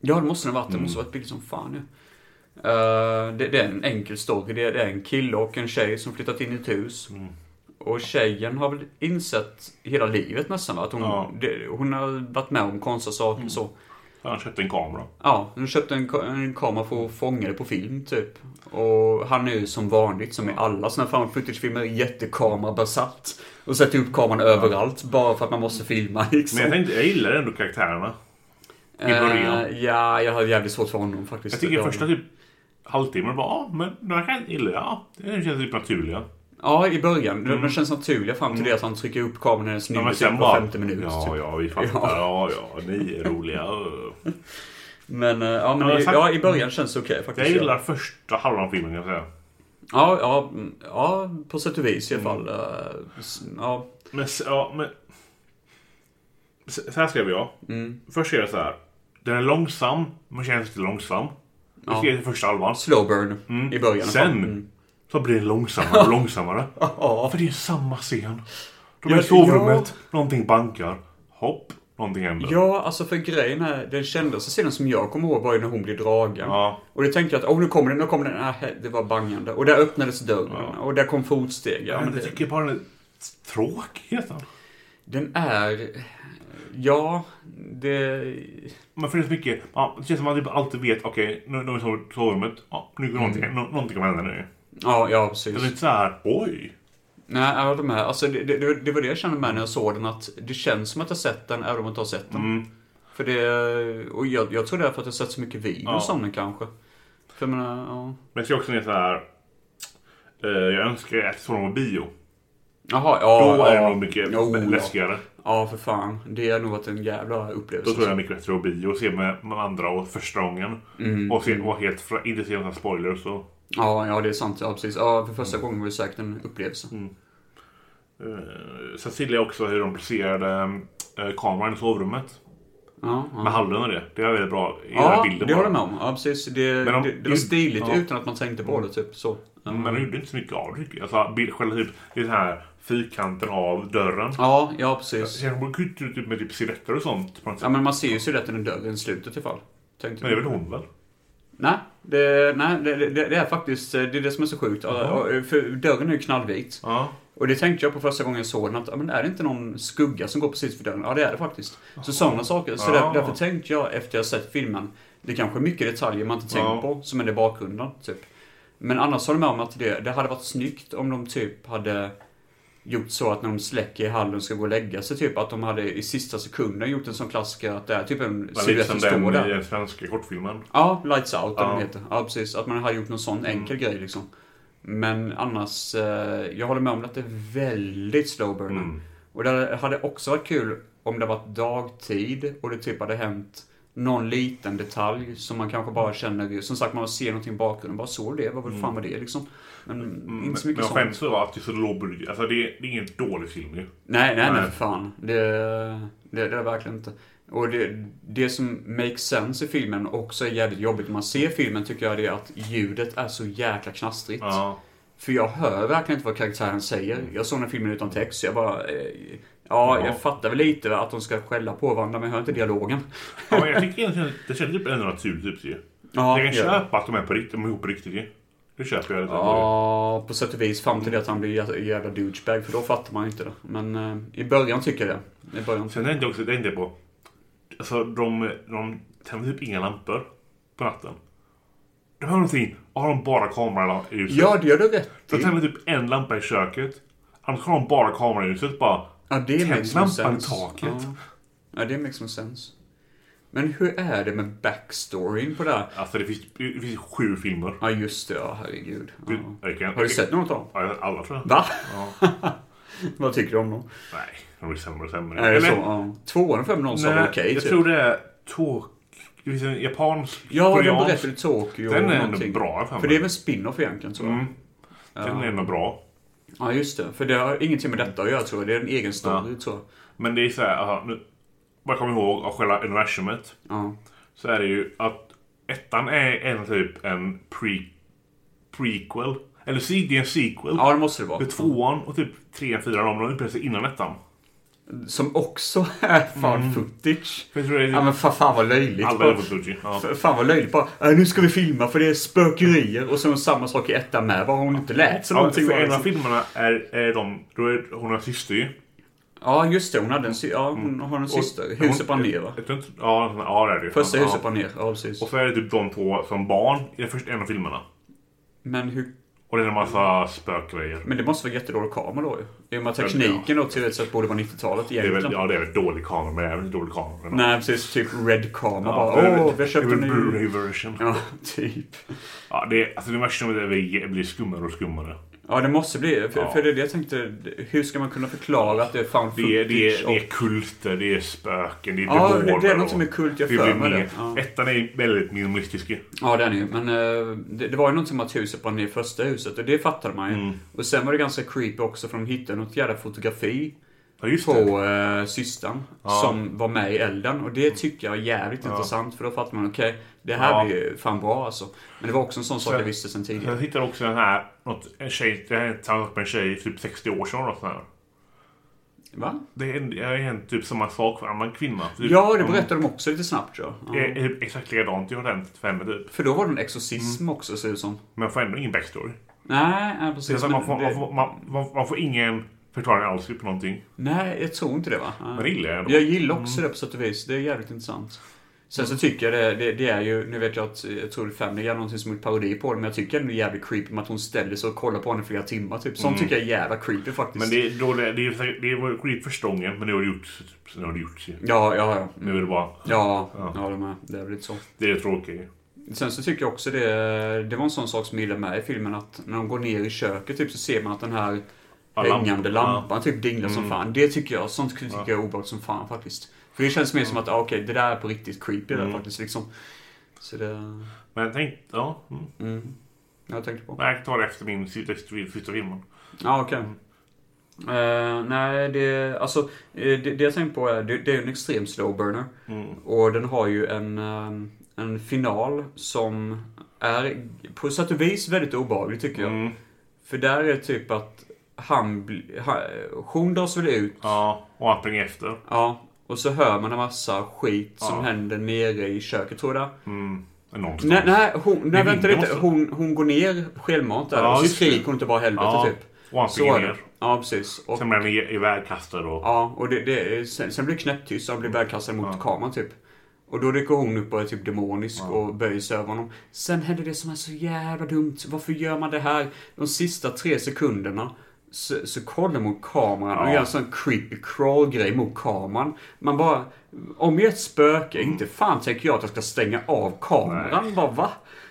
Ja, det måste den ha varit. Det måste ha
Mm.
varit billigt som fan ju. Eh, det, det är en enkel story. Det är, det är en kille och en tjej som flyttat in i ett hus.
Mm.
Och tjejen har väl insett hela livet nästan va? Att hon,
Ja. Mm.
det, hon har varit med om konstiga saker så.
Han köpte en kamera.
Ja, hon köpte en, ka- en kamera för att fånga det på film typ. Och han är ju som vanligt, som i alla såna här found footage-filmer, jättekamerabesalt. Och sätter upp kameran överallt bara för att man måste filma liksom.
Men jag, tänkte, jag gillar ändå karaktärerna. i
Eh,
början.
ja, jag hade jävligt svårt för honom faktiskt.
Jag tycker
Ja.
första typ halvtimmen var ja, men den här kan- gillar jag. Ja, Det känns typ naturliga.
Ja, i början. Mm. De känns naturliga fram till det att han trycker upp kameran i en snygg
Mm. Ja,
musik typ på
bara-
50 minuter.
Ja,
typ.
ja, vi fattar. Ja, ja, ni är roliga. Ö.
Men, eh, ja, men
Ja,
i-
exakt.
ja, i början känns det okej
Jag
faktiskt.
gillar första halvan av filmen kan jag säga.
Ja, ja, mm, ja, på sätt och vis i alla
Mm.
fall. eh, s- Ja,
Men, s- ja, men... S- Så här skrev jag.
Mm.
Först är det så här. Den är långsam, men känns inte långsam. Det skrev jag i första halvan.
slow burn i början. i alla fall.
Mm.
Mm.
Sen så blir den långsammare och långsammare.
Ja.
För det är samma scen. De
Ja,
är i sovrummet, någonting bankar. Hopp, någonting händer.
Ja, alltså för grejen är, den kändaste scenen som jag kommer ihåg var ju när hon blev dragen.
Ja.
Och det tänkte jag att, åh nu kommer den, nu kommer den. Nej, det var bangande. Och där öppnades dörren. Och där kom fotsteg. Ja,
men
men
jag
det,
tycker bara den är tråkig nästan.
den är... Ja, det...
Men för det är så mycket, ja, det känns som att man typ alltid vet, okej, nu, nu är vi i sovrummet, ja, nu
Mm.
går någonting, nå- någonting kommer hända nu.
Ja, ja
Det
precis.
är lite så här, oj.
Nej, jag håller med. Alltså, det, det, det var det jag kände med när jag såg den, att det känns som att jag sett den, även om jag inte har sett den.
Mm.
För det, och jag, jag tror det är för att jag sett så mycket videos
Ja.
om den kanske. För jag menar, ja.
Men jag ser också ner så här, eh, jag önskar att jag såg dem på bio.
Jaha, ja.
Då är det
ja.
nog mycket
Jo, ja.
läskigare.
Ja, för fan. Det har nog varit en jävla upplevelse.
Då tror jag det är mycket bättre att bio och se med, med andra och första gången.
Mm.
Och se, och helt, fra- inte se några spoilers. Så.
Ja, ja, det är sant. Ja, precis. Ja, för första
Mm.
gången var det säkert en upplevelse.
Eh, Sen gillar jag också hur de placerade eh, kameran i sovrummet.
Ja, ja.
Med hallen och det. Det är väldigt bra. i den här
Mm. ja
bilden
det
bara.
håller jag med om. Ja, precis. Det,
Men om-
det, det var stiligt
Ja. Mm.
utan att man tänkte på det, typ så. Ja.
Men de gjorde inte så mycket av det. tycker jag. Alltså, bild, själva typ, det är den här fyrkanten av dörren.
Ja, ja, precis.
Sen de gick ut typ med typ silhuetter och sånt. På något
Ja,
sätt.
men man ser ju siluetten i dörren i slutet i alla fall. Tänkte
Men det är väl hon väl?
Nej, det, nej det, det, det är faktiskt eh, det, är det som är så sjukt. Ja, För dörren är ju knallvit.
Ja.
Och det tänkte jag på första gången jag såg den. Att, ja, men är det inte någon skugga som går precis för dörren? Ja, det är det faktiskt. Så sådana saker. Så
Ja.
där, därför tänkte jag efter jag sett filmen. Det kanske är mycket detaljer man inte tänkt
Ja.
på som är det i bakgrunden. Typ. Men annars håller jag med om att det, det hade varit snyggt om de typ hade gjort så att när de släcker i hallen och ska gå och lägga sig typ att de hade i sista sekunden gjort en sån klassiker att det är typ en
Det är
silhuett
lite som
som står
liksom den i
där.
den svenska kortfilmen.
Ja, Lights Out eller
Ja. Mm.
vad den heter. Ja, precis. Att man har gjort någon sån enkel grej liksom. Men annars, eh, jag håller med om att det är väldigt slow burn.
Mm.
Och det hade också varit kul om det varit dagtid och det typ hade hänt någon liten detalj som man kanske bara känner, som sagt man ser någonting i bakgrunden, bara såg det, vad väl fan var det liksom? Men inte så
Mm. Men
mycket
jag
sånt.
skäms för att det är så låg budget. Alltså det är, det är ingen dålig film ju.
Nej, nej, nej,
Nej.
för fan. Det, det, det är verkligen inte. Och det, det som makes sense i filmen också är jävligt jobbigt när man ser filmen tycker jag det är att ljudet är så jäkla knastrigt.
Ja.
För jag hör verkligen inte vad karaktären säger. Jag såg den här filmen utan text så jag bara... Eh, ja,
Ja.
jag fattar väl lite att de ska skälla på varandra men jag hör inte dialogen.
ja men jag tycker egentligen det känns typ ändå naturligt typ ju.
Ja,
jag kan
ja.
köpa att de är på riktigt, de är ihop på riktigt ju. Det köper jag lite.
Ja, på sätt och vis fram till det att han blir jä- jävla douchebag för då fattar man inte det. Men eh, i början tycker jag det. I början.
Sen tänkte jag också, tänkte jag på. Alltså de, de tänder typ inga lampor på natten. De har någonting, har de bara kameran i huset.
Ja, det gör du rätt
Så
i.
tänder typ en lampa i köket. Annars har de bara kameran i huset bara.
Ja, det
Tänd
makes no
lampan i
sense.
taket.
Ja. ja, det makes no sense. Men hur är det med backstoryn på det här?
Alltså det finns, det finns sju filmer.
Ja, just det. Ja, herregud. Ja.
Du- jag kan-
Har du sett något av dem?
Ja, jag- alla tror jag.
Va?
Ja.
Vad tycker du om dem?
Nej, de blir sämre och sämre.
Är det så? Ja. Tvåan och fem någon sa var
nej,
okej,
jag
typ.
tror det är Tåk... Det finns en japansk,
Ja, de
koreansk.
berättade i Tokyo
Den är
och
ändå
någonting.
bra, fan.
För det är väl spin-off egentligen, tror jag.
Mm. Den är ändå bra.
Ja, just det. För det har ingenting med detta att göra, tror jag. Det är en egen story, tror jag.
Men det är så här, aha, nu, bara kom ihåg av själva universumet.
Ja.
Så är det ju att ettan är en typ en pre, prequel. Eller se- det är en sequel.
ja, det måste det vara.
För tvåan och typ tre, fyra av dem de utspelar sig innan ettan.
Som också är fan footage.
Mm. För jag tror det är
Ja, men fa- fan vad löjligt.
alla
bara.
är på Fuji. Ja.
F- Fan vad löjligt bara, "Äh, nu ska vi filma för det är spökerier och sen samma sak i ettan med. Vad har hon inte lärt sig
Ja,
någonting?
för en av
liksom.
filmerna är, är de, då är hon har syster ju.
Ja just det, hon, hade en, sy- ja,
Mm.
hon har en syster. Huset brann ner va?
Jag tror inte- Ja, ja det är det ju.
Första
ja.
huset brann ner, ja precis.
Och så är det typ de två som barn i den första, en av filmerna.
Men, hur,
Och det är en massa spökgrejer.
men det måste vara jättedålig kamera då ju. I och med att
Ja,
tekniken då teoretiskt sett borde vara 90-talet
Det är väl,
egentligen.
ja, det är väl dålig kamera, men det är väl inte dålig kamera. Men,
Nej precis, typ red-kamera
ja, det
bara.
är väl-
Åh, vi har köpt
det är
en
väl
ny...
Blu-ray version.
Ja, typ.
Ja, det är, alltså universumet är väl- det blir skummare och skummare.
Ja, det måste bli för,
Ja.
för det är det jag tänkte. Hur ska man kunna förklara att det är found
Det är,
footage?
det är, det
och-
är kulter, det är spöken, det är
Ja, det- det är
demoner
något
och-
som är kult, jag
det
för
blir
mig det.
mer-
Ja.
Ettan är väldigt minimalistisk ju.
Ja, det är den ju. Men eh, det, det var ju någonting med att huset brann ner i första huset och det fattade man ju.
Mm.
Och sen var det ganska creepy också för de hittade något jävla fotografi
Ja, just det.
på eh, systern som var med i elden. Och det tycker jag är jävligt intressant för då fattar man okej, det här
Mm. Ja.
blir ju fan bra alltså. Men det var också en sån sak
Sen-
jag visste sen tidigare.
Jag hittar också den här, något, en tjej, det här är tillsammans med en tjej för typ 60 år sedan. Och sånt här.
Va?
Det är en- det har hänt typ samma sak för en annan kvinna. Typ.
Ja, det
Mm.
berättade de också lite snabbt tror jag.
Det
Ja.
är typ exakt likadant i Ordentligt 5 typ.
För då var det en exorcism också ser det ut som.
Men man får ändå ingen backstory.
Nej, nej
Det är
precis.
så att man,
Men
får, man,
det,
får, man, man, man får ingen förklaring alls på någonting.
nej, jag tror inte det va? Nej.
Men det gillar jag ändå.
Jag gillar också det på sätt och vis. Det är jävligt intressant. Sen så tycker jag det, det, det är ju, nu vet jag att eh, jag tror det är Family Guy någonting som är parodi på det, men jag tycker den är jävligt creepy med att hon ställer sig och kollar på henne i flera timmar typ. Sånt tycker jag är jävla creepy faktiskt.
Mm. Men det, är då det, det, är säkert- det var ju skit för stången, men det har det gjorts. Typ, sen har det gjorts ju.
Ja, ja, ja. Mm.
Nu är det bara...
Ja, ja, det med. Det är väl lite så.
Det är tråkigt ju.
Sen så tycker jag också det, det var en sån sak som jag gillade med i filmen att när de går ner i köket typ så ser man att den här
Ja, Mm.
hängande
lamp-
lampan typ dinglar som fan. Det tycker jag, sånt tycker jag är obehagligt som fan faktiskt. För det känns mer som att, ah, okej, det där är på riktigt creepy
Mm.
det där faktiskt liksom. Så det...
Men tänk... Ja. Mm.
Jag tänkte på.
Nej, jag tar det efter min sista, efter sista filmen.
Ja, okej. Eh, nej, det, alltså, eh, det, det jag tänkte på är, det, det är ju en extrem slow burner.
Mm.
Och den har ju en, ehm, en final som är på sätt och vis väldigt obehaglig tycker jag.
Mm.
För där är det typ att han, bli- han hon dras väl ut.
Ja, och han springer efter.
Ja. Och så hör man en massa skit som
Ja.
händer nere i köket tror jag.
Mm. Någonstans.
Nej, nej, hon, nej
Vid
vänta
vinden
lite.
måste-
Hon, hon går ner självmant där.
Ja,
och så
just det.
skriker hon inte bara helvete
Ja.
typ.
Och han
Så
springer
är det.
ner.
Ja, precis. Och,
Sen blir han i- ivägkastad och... Mm.
Ja, och det, det, sen, sen blir det knäpptyst så han blir vägkastad mot kameran typ. Och då dyker hon upp och är typ demonisk och böjer sig över honom. Sen händer det som är så jävla dumt. Varför gör man det här? De sista tre sekunderna så, så kollar mot kameran och
Ja.
gör en sån creepy crawl-grej mot kameran. Man bara... Om jag är ett spöke,
Mm.
inte fan tänker jag att jag ska stänga av kameran. Bara va?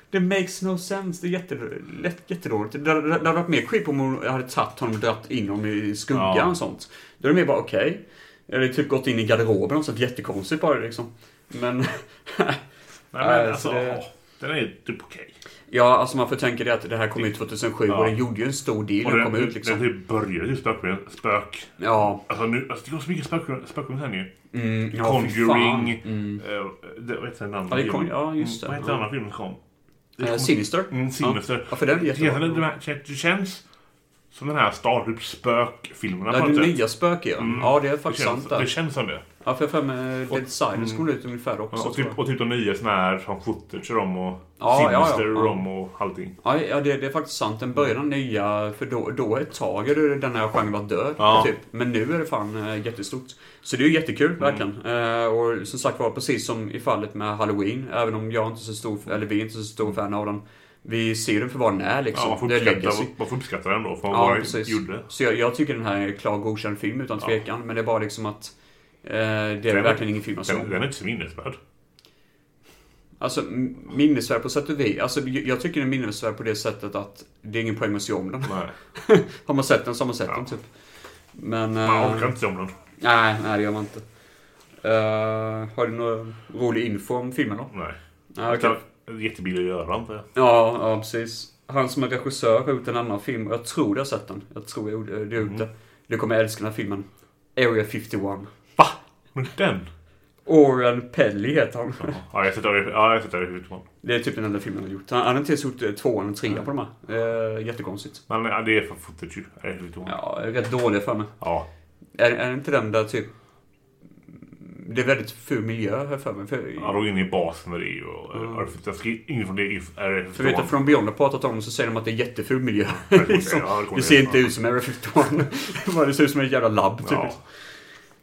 Det makes no sense. Det är jättelätt, jättedåligt. Det hade det hade varit mer creepy om hon hade tagit honom och dragit in honom i skuggan
Ja.
och sånt. Då är det mer bara okej. Eller typ gått in i garderoben och sånt jättekonstigt bara liksom. Men
Nej, men
Nej,
alltså,
Äh, så det-
ja, den är typ okej.
ja, alltså man får tänka det att det här kom ut 2007 och den gjorde ju en stor deal
Och
när den
den,
kom ut
den
liksom.
typ började ju spök med spök.
Ja,
Alltså, nu, alltså det går så mycket spök- spökfilmer sen ju.
mm, ja fy fan. Mm.
Conjuring. eh, det- Vad heter den andra
Ja, det är
filmen? Mm.
Con- ja, just det.
Vad heter den andra filmen som kom? Det
Eh,
kom-
Sinister.
Mm, Sinister.
Ja, för den är jättebra.
Heter den- det- Det känns som den här Star typ spökfilmerna
Ja,
på något
det är
sätt.
nya spöken ja. Ja, det är
Mm. Det
faktiskt
känns,
sant
det
där.
känns som det.
Ja, för jag har för mig Dead Silence kom ut ungefär också.
Ja, och,
tror
typ,
jag.
och typ de nya såna här som footage och dem och
Ja, ja, ja,
Sinister och
ja.
dem och allting.
Ja, ja det, det är faktiskt sant. Den börjar
Mm.
den nya, för då, då ett tag är det den här genren var död.
Ja. Mm.
Typ. Men nu är det fan eh, jättestort. Så det är ju jättekul, verkligen. Eh, och som sagt var, precis som i fallet med Halloween, även om jag inte är så stor, eller vi är inte så stor fan av den. Vi ser den för vad den är
Mm. Ja,
liksom.
man, får
det är
uppskatta,
legacy.
man får uppskatta den då för
Ja,
vad den
precis.
gjorde.
Så jag, jag tycker den här är en klar godkänd film utan tvekan. Men det är bara liksom att eh, det är
Den-
verkligen ingen film alltså. jag såg.
Den, den är inte så minnesvärd.
Alltså m- minnesvärd på sätt och vis. Alltså, jag jag tycker den är minnesvärd på det sättet att det är ingen poäng att se om den.
Nej.
har man sett den så har man sett
Ja.
den typ. Men... eh,
Man orkar inte se om den.
nej, nej det gör man inte. Eh, har du någon rolig info om filmen då?
Nej.
Nej, okej.
Det är Jättebillig att göra antar jag.
Ja, ja precis. Han som är regissör har gjort en annan film och jag tror jag har sett den. Jag tror jag gjorde- det har gjort det.
Mm.
Du kommer älska den här filmen. Area 51.
Va? Men den?
Oren Pelly heter han.
Ja, jag har sett det. Ja, jag har sett det. i huvudet.
Det är typ den enda filmen han har gjort. Han han har inte ens gjort eh, tvåan och trean på de här. Eh, jättekonstigt.
Men ja, det är för footage ju. Det är lite ont.
Ja, jag är rätt dålig för mig.
Ja.
Är, är det inte den där typ... Det är väldigt ful miljö här för mig. För,
Ja, då är inne i basen där det är ju. och- eh, och Jag ska in från det. i- Är det
Mm. för vet du, från Beyond har pratat om det så säger de att det är jätteful miljö.
Ja, det kommer
liksom.
det, ja, det kommer
det ser
det.
inte ut som Area 51. Bara det ser ut som ett jävla labb typ.
Ja.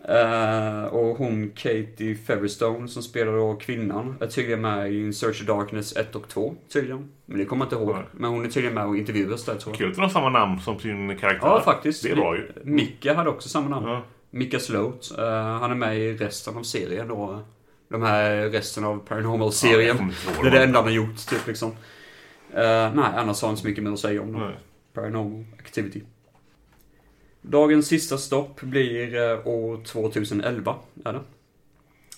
Eh, och hon Katie Featherstone som spelar då kvinnan är tydligen med i In Search of Darkness 1 och 2 tydligen. Men det kommer jag inte ihåg.
Nej.
Men hon är tydligen med och intervjuas där tror jag.
Kul att de har samma namn som sin karaktär.
Ja, faktiskt.
Det är bra ju.
Micke hade också samma namn.
Ja.
Micke Sloat. Eh, han är med i resten av serien då. De här resten av Paranormal-serien.
Ja, jag kommer inte
det
ihåg
är det
dem.
enda han har gjort, typ liksom. Eh, nej, annars har han inte så mycket mer att säga om dem.
Nej.
Paranormal Activity. Dagens sista stopp blir eh, år 2011, är det.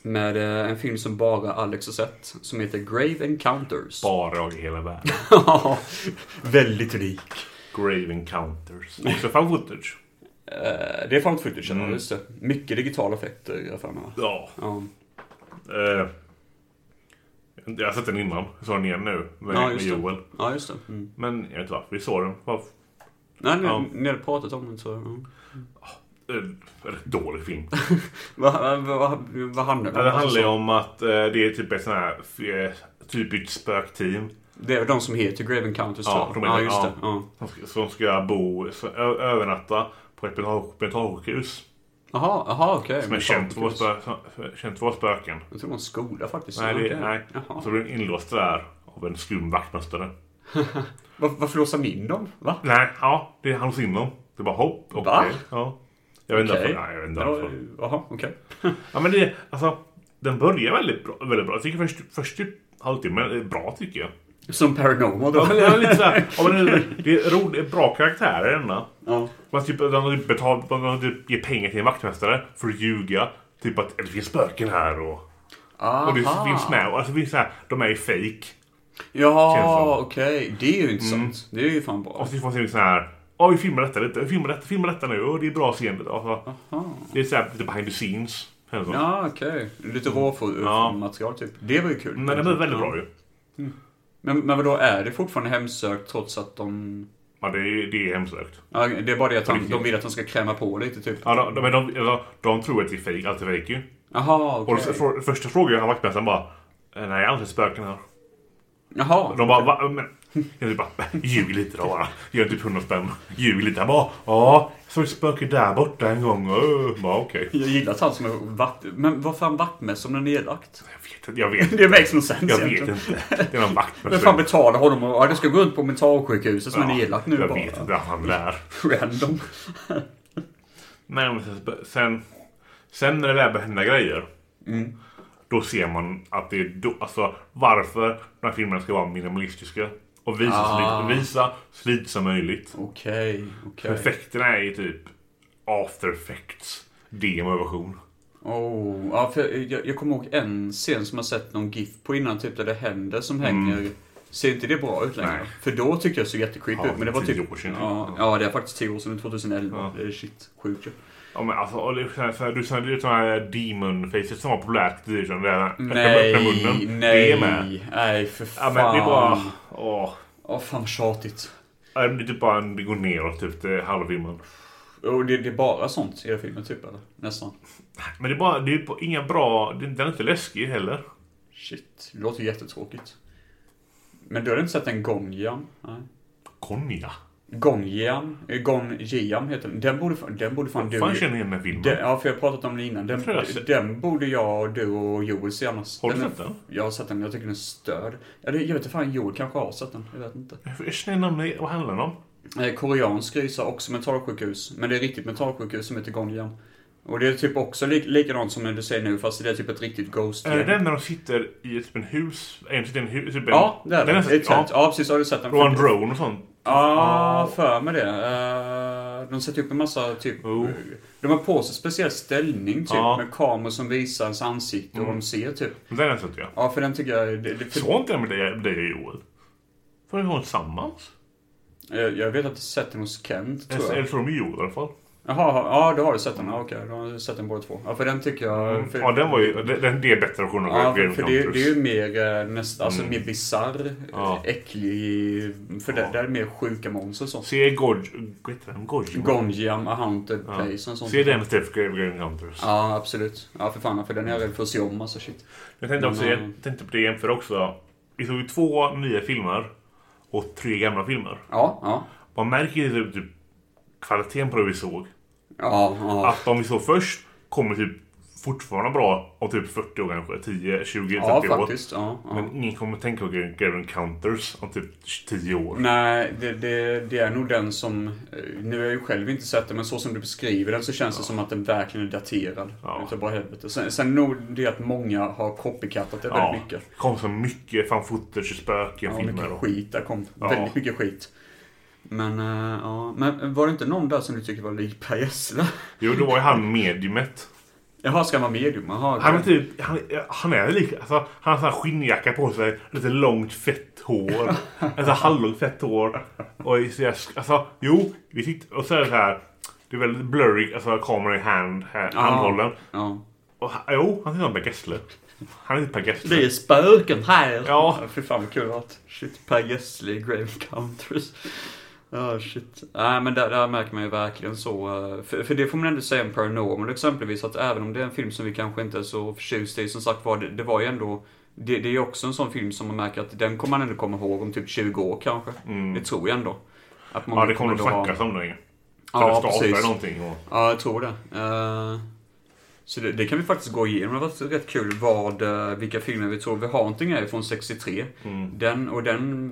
Med eh, en film som bara Alex har sett, som heter Grave Encounters.
Bara jag i hela världen.
Ja, väldigt lik.
Grave Encounters. Också fan footage.
Eh, det är fan footage,
Mm.
just det. Mycket digitala effekter, jag har för mig. va?
Ja.
Ja.
Eh, jag har sett den innan. Jag såg den igen nu med,
Ja,
med
just det.
Joel.
ja, just det. Mm.
Men jag vet inte varför vi såg den. Var,
Nej, ni,
Ja.
ni hade pratat om den så... ja.
eh, rätt dålig film.
Vad vad- vad- vad handlar det om?
Ja, det
Alltså,
handlar ju
så-
om att eh, det är typ ett sånt här eh, typiskt spökteam.
Det är de som heter Grave Encounters
Ja,
tror
de
jag. ja,
är-
just
ja.
det. Ja.
Som ska, som ska bo, så, ö, övernatta på ett mental- mentalsjukhus.
Jaha, jaha okej.
Som är känt för, att vara spö- för- känt för att vara spöken.
Jag tror det var en skola faktiskt.
Nej,
Ja,
det,
okej.
nej.
Jaha.
Så blir de inlåsta där av en skum vaktmästare.
Var, varför låser de in dem? Va?
Nej, ja, det är han hos inom. Det är bara hopp. Okay.
Va?
Ja. Jag vet inte
Okej.
varför. Nej, jag vet inte
Ja,
varför.
Jaha, okej.
Ja, men det, alltså, den börjar väldigt bra. Väldigt bra. Jag tycker först, först typ halvtimmen är bra tycker jag.
Som Paranormal då?
Ja, men det är lite såhär, ja, men det, det, är ro, det är bra karaktärer i denna.
Ja.
Man typ, de har typ betalt, de har typ ger pengar till en vaktmästare för att ljuga. Typ att det finns spöken här och, och det
Aha.
finns med. Och Alltså, det finns så här, de är ju fake.
Jaha,
Känns Mm.
okej. Det är ju intressant. Det är ju fan bra.
Och så får man se så här. Ja, vi filmar detta lite. Vi filmar detta, filmar detta nu. Och det är bra scener. Alltså, det är så här, lite behind the scenes. känns det som.
Ja, okej. Lite råmaterial typ. Det var ju kul.
Men den är väldigt
Ja.
bra ju.
Men, men vadå, är det fortfarande hemsökt trots att de...
Ja, det är, det är hemsökt.
Ja, det är bara det att han,
riktigt.
de vill att de ska klämma på lite typ.
Ja, de, de, men de, de, de tror att det är fake, allt är fake ju.
Jaha,
Och
okej.
okay. för, första frågan han vaktmästaren bara eh, Nej, jag anser spöken här.
Jaha.
Och de bara va? Men, jag typ bara ljug lite då bara. Gör typ 100 spänn. Ljug lite. Han bara ja, jag såg ett spöke där borta en gång. Och, bara okej.
Jag gillar att han som är vatt... Men vad fan vaktmästare om den är nedlagt?
Jag vet inte. Jag vet,
Det makes no sense
jag vet
egentligen.
inte. Det är
Vem
någon
fan
vaktmästare.
betalar honom? och- Ja, det ska gå runt på mentalsjukhuset som är
Ja,
nedlagt nu
jag
bara.
vet inte vad han är.
Random.
Nej, men sen- sen, sen när det väl börjar hända grejer.
Mm.
Då ser man att det är då, alltså, varför de här filmerna ska vara minimalistiska. Och visa,
Ah.
så, lite, visa så lite som möjligt.
Okej, okej.
Effekterna är ju typ after effects demo-version.
Oh, ja, för jag, jag kommer ihåg en scen som jag sett någon GIF på innan, typ där det händer som hänger. Ser inte det bra ut längre?
Mm. Nej.
För då tyckte jag det såg jättecreepy
Ja,
ut. Men det var
tio
typ...
år sedan.
Ja, ja, det är faktiskt 10 år sedan. 2011.
Ja.
Det är shit. Sjukt ju.
Ja men alltså, och det är så här- så här- du känner ju sådana här demon faces som var populärt i den där öppna-
Nej,
öppna munnen. Det är med.
nej, nej för
Ja
fan.
men det är bara... Åh.
Åh, fan vad tjatigt.
Ja, men Det är typ bara en, det går neråt typ till halvhimlen.
Och det, det är bara sånt i den filmen typ eller? Nästan.
Men det är bara, det är på inga bra, det- den är inte läskig heller.
Shit, det låter ju jättetråkigt. Men du har inte sett en Gongiam? Nej.
Konja.
Gongiam? eh, Gongiam heter den. Den borde, fan- den borde fan du...
Fan känner igen den här filmen.
Den, ja, för jag har pratat om den innan. Den,
tror jag har sett-
den borde jag, du och Joel se annars.
Har du
är-
sett den?
Jag har sett den, jag tycker den är störd. Eller jag vet inte, fan Joel kanske har sett den. Jag vet inte.
Jag känner igen namnet, vad handlar den om?
Eh, Koreansk rysare, också mentalsjukhus. Men det är riktigt mentalsjukhus som heter Gongiam. Och det är typ också li- likadant som du säger nu, fast det är typ ett riktigt ghost
Är det Eh, den när de sitter i ett typ en hus? En sitter i en hus? Typ en,
Ja, det är
den
det.
sett-
Exakt.
Ja,
Ja, precis. Har du sett den?
och en drone och sånt.
Ja, för mig det. Eh, De sätter upp en massa typ...
Oh.
De har på sig speciell ställning typ.
Ja.
Med kameror som visar ens ansikte och de ser typ.
Den har jag sett ja.
Ja, för den tycker jag... Det, det, för,
Såg inte den med dig med dig och Joel? Var det hon tillsammans?
Eh, jag, jag vet att du sett den hos Kent tror jag.
Eller så de med Joel i alla fall.
Jaha, ja då har du sett den. Ja, okej, då har du sett den båda två. Ja, för den tycker jag... För,
Mm, Ja, den var ju... Den, den- det är bättre versionen av
Ja, för,
Graham
för det,
Counters.
det är ju mer eh, nästa, alltså mer bisarr,
Ja.
äcklig, för det, där är mer sjuka monster och sånt.
Se Gorg... Vad heter den? Gorg?
Gonjiam, A Haunted Place och sånt.
Se den istället för Graham Counters.
Ja, absolut. Ja, för fan. För den är jag rädd för att se om alltså. Shit.
Jag tänkte, också, jag
Mm.
tänkte på det jämför också. Vi såg ju två nya filmer och tre gamla filmer.
Ja, ja.
Man märker ju typ, typ kvaliteten på det vi såg.
Ja, ja.
Att de vi såg först kommer typ fortfarande bra om typ 40 år kanske. 10, 20, 30
Ja,
år.
faktiskt. Ja, ja.
Men ingen kommer tänka på Graham Counters om typ 10 år.
Nej, det, det, det är nog den som... eh, Nu har jag ju själv inte sett den, men så som du beskriver den så känns det som att den verkligen är daterad.
Ja.
Utav bara helvete. Sen, sen nog det att många har copycatat det
Ja,
väldigt mycket.
det kom så mycket fan footage och spöken
Ja,
filmer.
mycket
Och,
skit där kom.
Ja.
Väldigt mycket skit. Men, eh, ja. men var det inte någon där som du tyckte var lik Per Gessle?
jo, då var ju han mediumet.
Jaha, ska han vara medium? Jaha,
Han är
okej.
typ, han, han är lik, alltså, han har sån här skinnjacka på sig, lite långt fett hår. alltså hallongt fett hår. Och i så här, alltså, jo, vi tyckte, och så är det så här, det är väldigt blurry, alltså kameran i hand, här, handhållen.
Ja.
Och, han- jo, han ser ut som Per Gessle. Han är inte Per Gessle.
Det är spöken här!
Ja.
Fy fan vad kul det varit. Shit, Per Gessle i Grave Countries. Ja, shit. Nej, men där, där märker man ju verkligen så. eh, För, för det får man ändå säga om Paranormal exempelvis, att även om det är en film som vi kanske inte är så förtjusta i, som sagt var, det, det var ju ändå det, det är ju också en sån film som man märker att den kommer man ändå komma ihåg om typ 20 år kanske. Det tror jag ändå. Att man
Mm. ja, det kommer att
ändå ha-
snackas om det länge.
Ja,
Ja, precis.
precis.
Någonting och,
Ja, jag tror det. Eh, så det, det kan vi faktiskt gå igenom. Det har varit rätt kul vad, eh, vilka filmer vi tror. Vi har någonting är från 63. Den och den...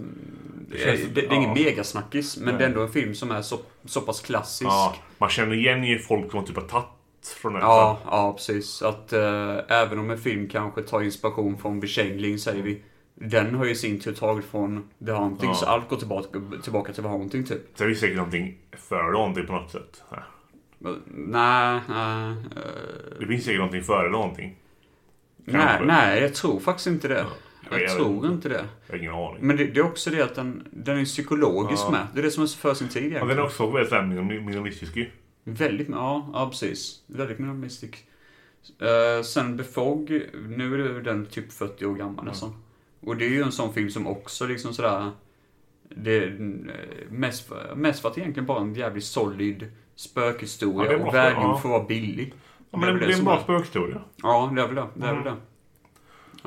Det,
Mm. känns-
det, det är ingen
ja.
megasnackis, men det är ändå en film som är så, så pass klassisk.
ja, man känner igen ju folk som typ har tagit från den.
Ja, ja precis. Att eh, även om en film kanske tar inspiration från Bekängeling säger vi. Den har ju i sin tur tagit från The Haunting,
Mm. Ja.
så allt går tillbaka, tillbaka till The Haunting typ.
Så det är säkert någonting före någonting på något sätt. Ja.
Men, Nej, nej. eh,
Det finns säkert någonting före någonting.
Nej,
Kanske.
nej, jag tror faktiskt inte det. Jag,
jag vet
tror
inte.
inte det.
Jag har ingen aning.
Men det, det är också det att den, den är psykologisk med. Det är det som är så för sin tid
Ja,
egentligen.
den är också väldigt så här minim- minimalistisk ju.
Väldigt, ja, ja precis. Väldigt minimalistisk. Eh, sen Befog, nu är det den typ 40 år gammal nästan. Och det är ju en sån film som också liksom sådär... Det är eh, mest, för- mest för att det egentligen bara är en jävligt solid
Ja,
spökhistoria
det är bra
och
för-
värdig
ja.
för att vara billig.
Ja, men
är
det,
väl
det är en
som
bra spökhistoria.
Ja, det är väl det. Det är väl det.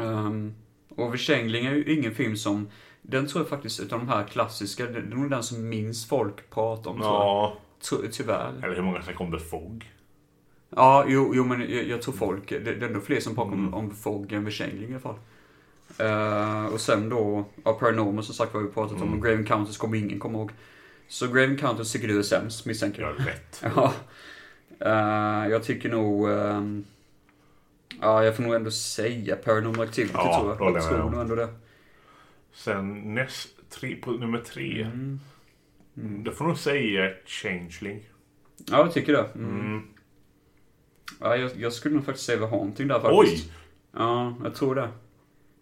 Ehm, och Försängling är ju ingen film som... Den tror jag faktiskt, utav de här klassiska, det är nog den som minst folk pratar om. Ja.
Ja.
Tror jag. Ty- Tyvärr.
Eller hur många som kom det Fogg?
Ja, jo, jo men jag, jag tror folk... Det, det är ändå fler som pratar om, om Fogg än Försängling i alla fall. Ehm, och sen då, ja, Paranormal som sagt var vi pratat om, och Grave Encounters kommer ingen komma ihåg. Så Grave Encounters tycker du är sämst, misstänker
Jag
jag.
har rätt.
Ja. Eh, jag tycker nog... ehm, ja, jag får nog ändå säga Paranormal Activity
Ja,
tror
då
jag.
håller
Jag
jag
tror
med.
nog ändå det.
Sen näst, tre, på nummer tre. Mm.
Mm.
Då får nog säga Changeling.
Ja, jag tycker det. Mm.
Mm.
Ja, jag, jag skulle nog faktiskt säga The Haunting där faktiskt.
Oj!
Ja, jag tror det.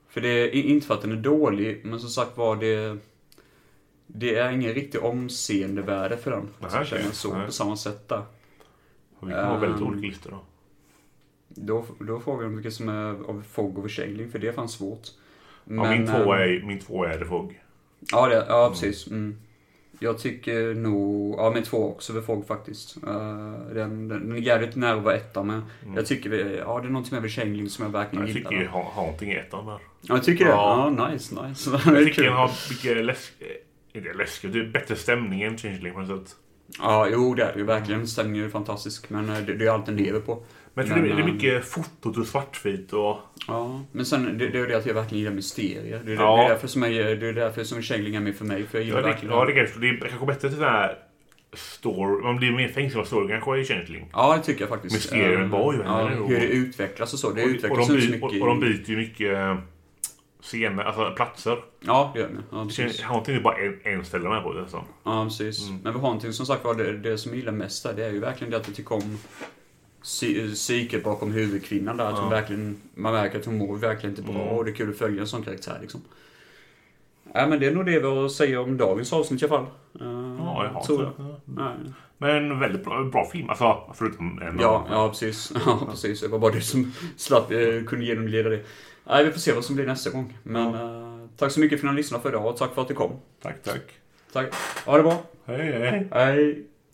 För det är i- inte för att den är dålig, men som sagt var, det... Det är ingen riktig omseendevärde för den.
Nej,
så jag känner
okej.
så
Nej.
på samma sätt där.
Vi kommer ha väldigt
Ehm.
olika listor då.
Då, då frågar de vilket som är av Fogg och Försäljning, för det är fan svårt.
Ja, min, tvåa
eh,
är, min tvåa är The Fog.
Ja, det, ja precis. Mm. Jag tycker nog... Ja, min tvåa också för Fogg faktiskt. Eh, den, den, den är jävligt nära att vara etta med. Jag tycker... vi- Ja, det är någonting med Försäljning som jag verkligen
Mm. Jag
gillar.
tycker ju Ha- Haunting är ettan där.
Ja, jag tycker det?
Ja.
Ja, nice, nice.
Jag tycker den har mycket läsk... eh, Inte läskigt, det är bättre stämning än Changeling på något sätt.
Ja, jo det är det ju verkligen. Stämningen är fantastisk. Men eh, det, det är allt den lever på.
Men jag tror det,
Men,
är- det är
ehm,
mycket fotot och svartvitt och...
Ja, men sen det, det är ju det att jag verkligen gillar mysterier. Det är,
Ja.
det, det är därför som jag, det är därför som Kängling är med för mig. För jag
Ja,
gillar
det,
verkligen
ja, det kanske det är kanske bättre till sån här story. Man blir mer fängslad av story kanske i Changeling.
Ja, det tycker jag faktiskt.
Mysterier,
Ehm,
vad händer
ja,
nu?
Hur det utvecklas och så. Det
Och, och,
utvecklas
de
ju så
by,
mycket.
och, och de byter ju mycket eh, scener, alltså platser.
i- Ja, det gör de. Ja,
Change-
precis.
Haunting är bara en, en ställe med på det så.
Ja, precis.
Mm.
Men vi har någonting som sagt var, det, det som jag gillar mest där, det är ju verkligen det att jag tycker om psy- psyket bakom huvudkvinnan där. Att hon verkligen, man märker att hon mår verkligen inte
Mm.
bra och det är kul att följa en sån karaktär liksom. Ja, men det är nog det vi har att säga om dagens avsnitt i alla fall. Eh,
Ja, jag har
tror
så.
jag. Nej.
Men väldigt bra, bra film. Alltså, förutom en
Ja, ja precis. Ja, precis. Det var bara du som slapp, eh, kunde genomleda det. Nej, vi får se vad som blir nästa gång. Men eh, tack så mycket för att ni lyssnade för idag och tack för att du kom.
Tack, tack.
Tack. Ha det bra.
Hej, hej.
Hej.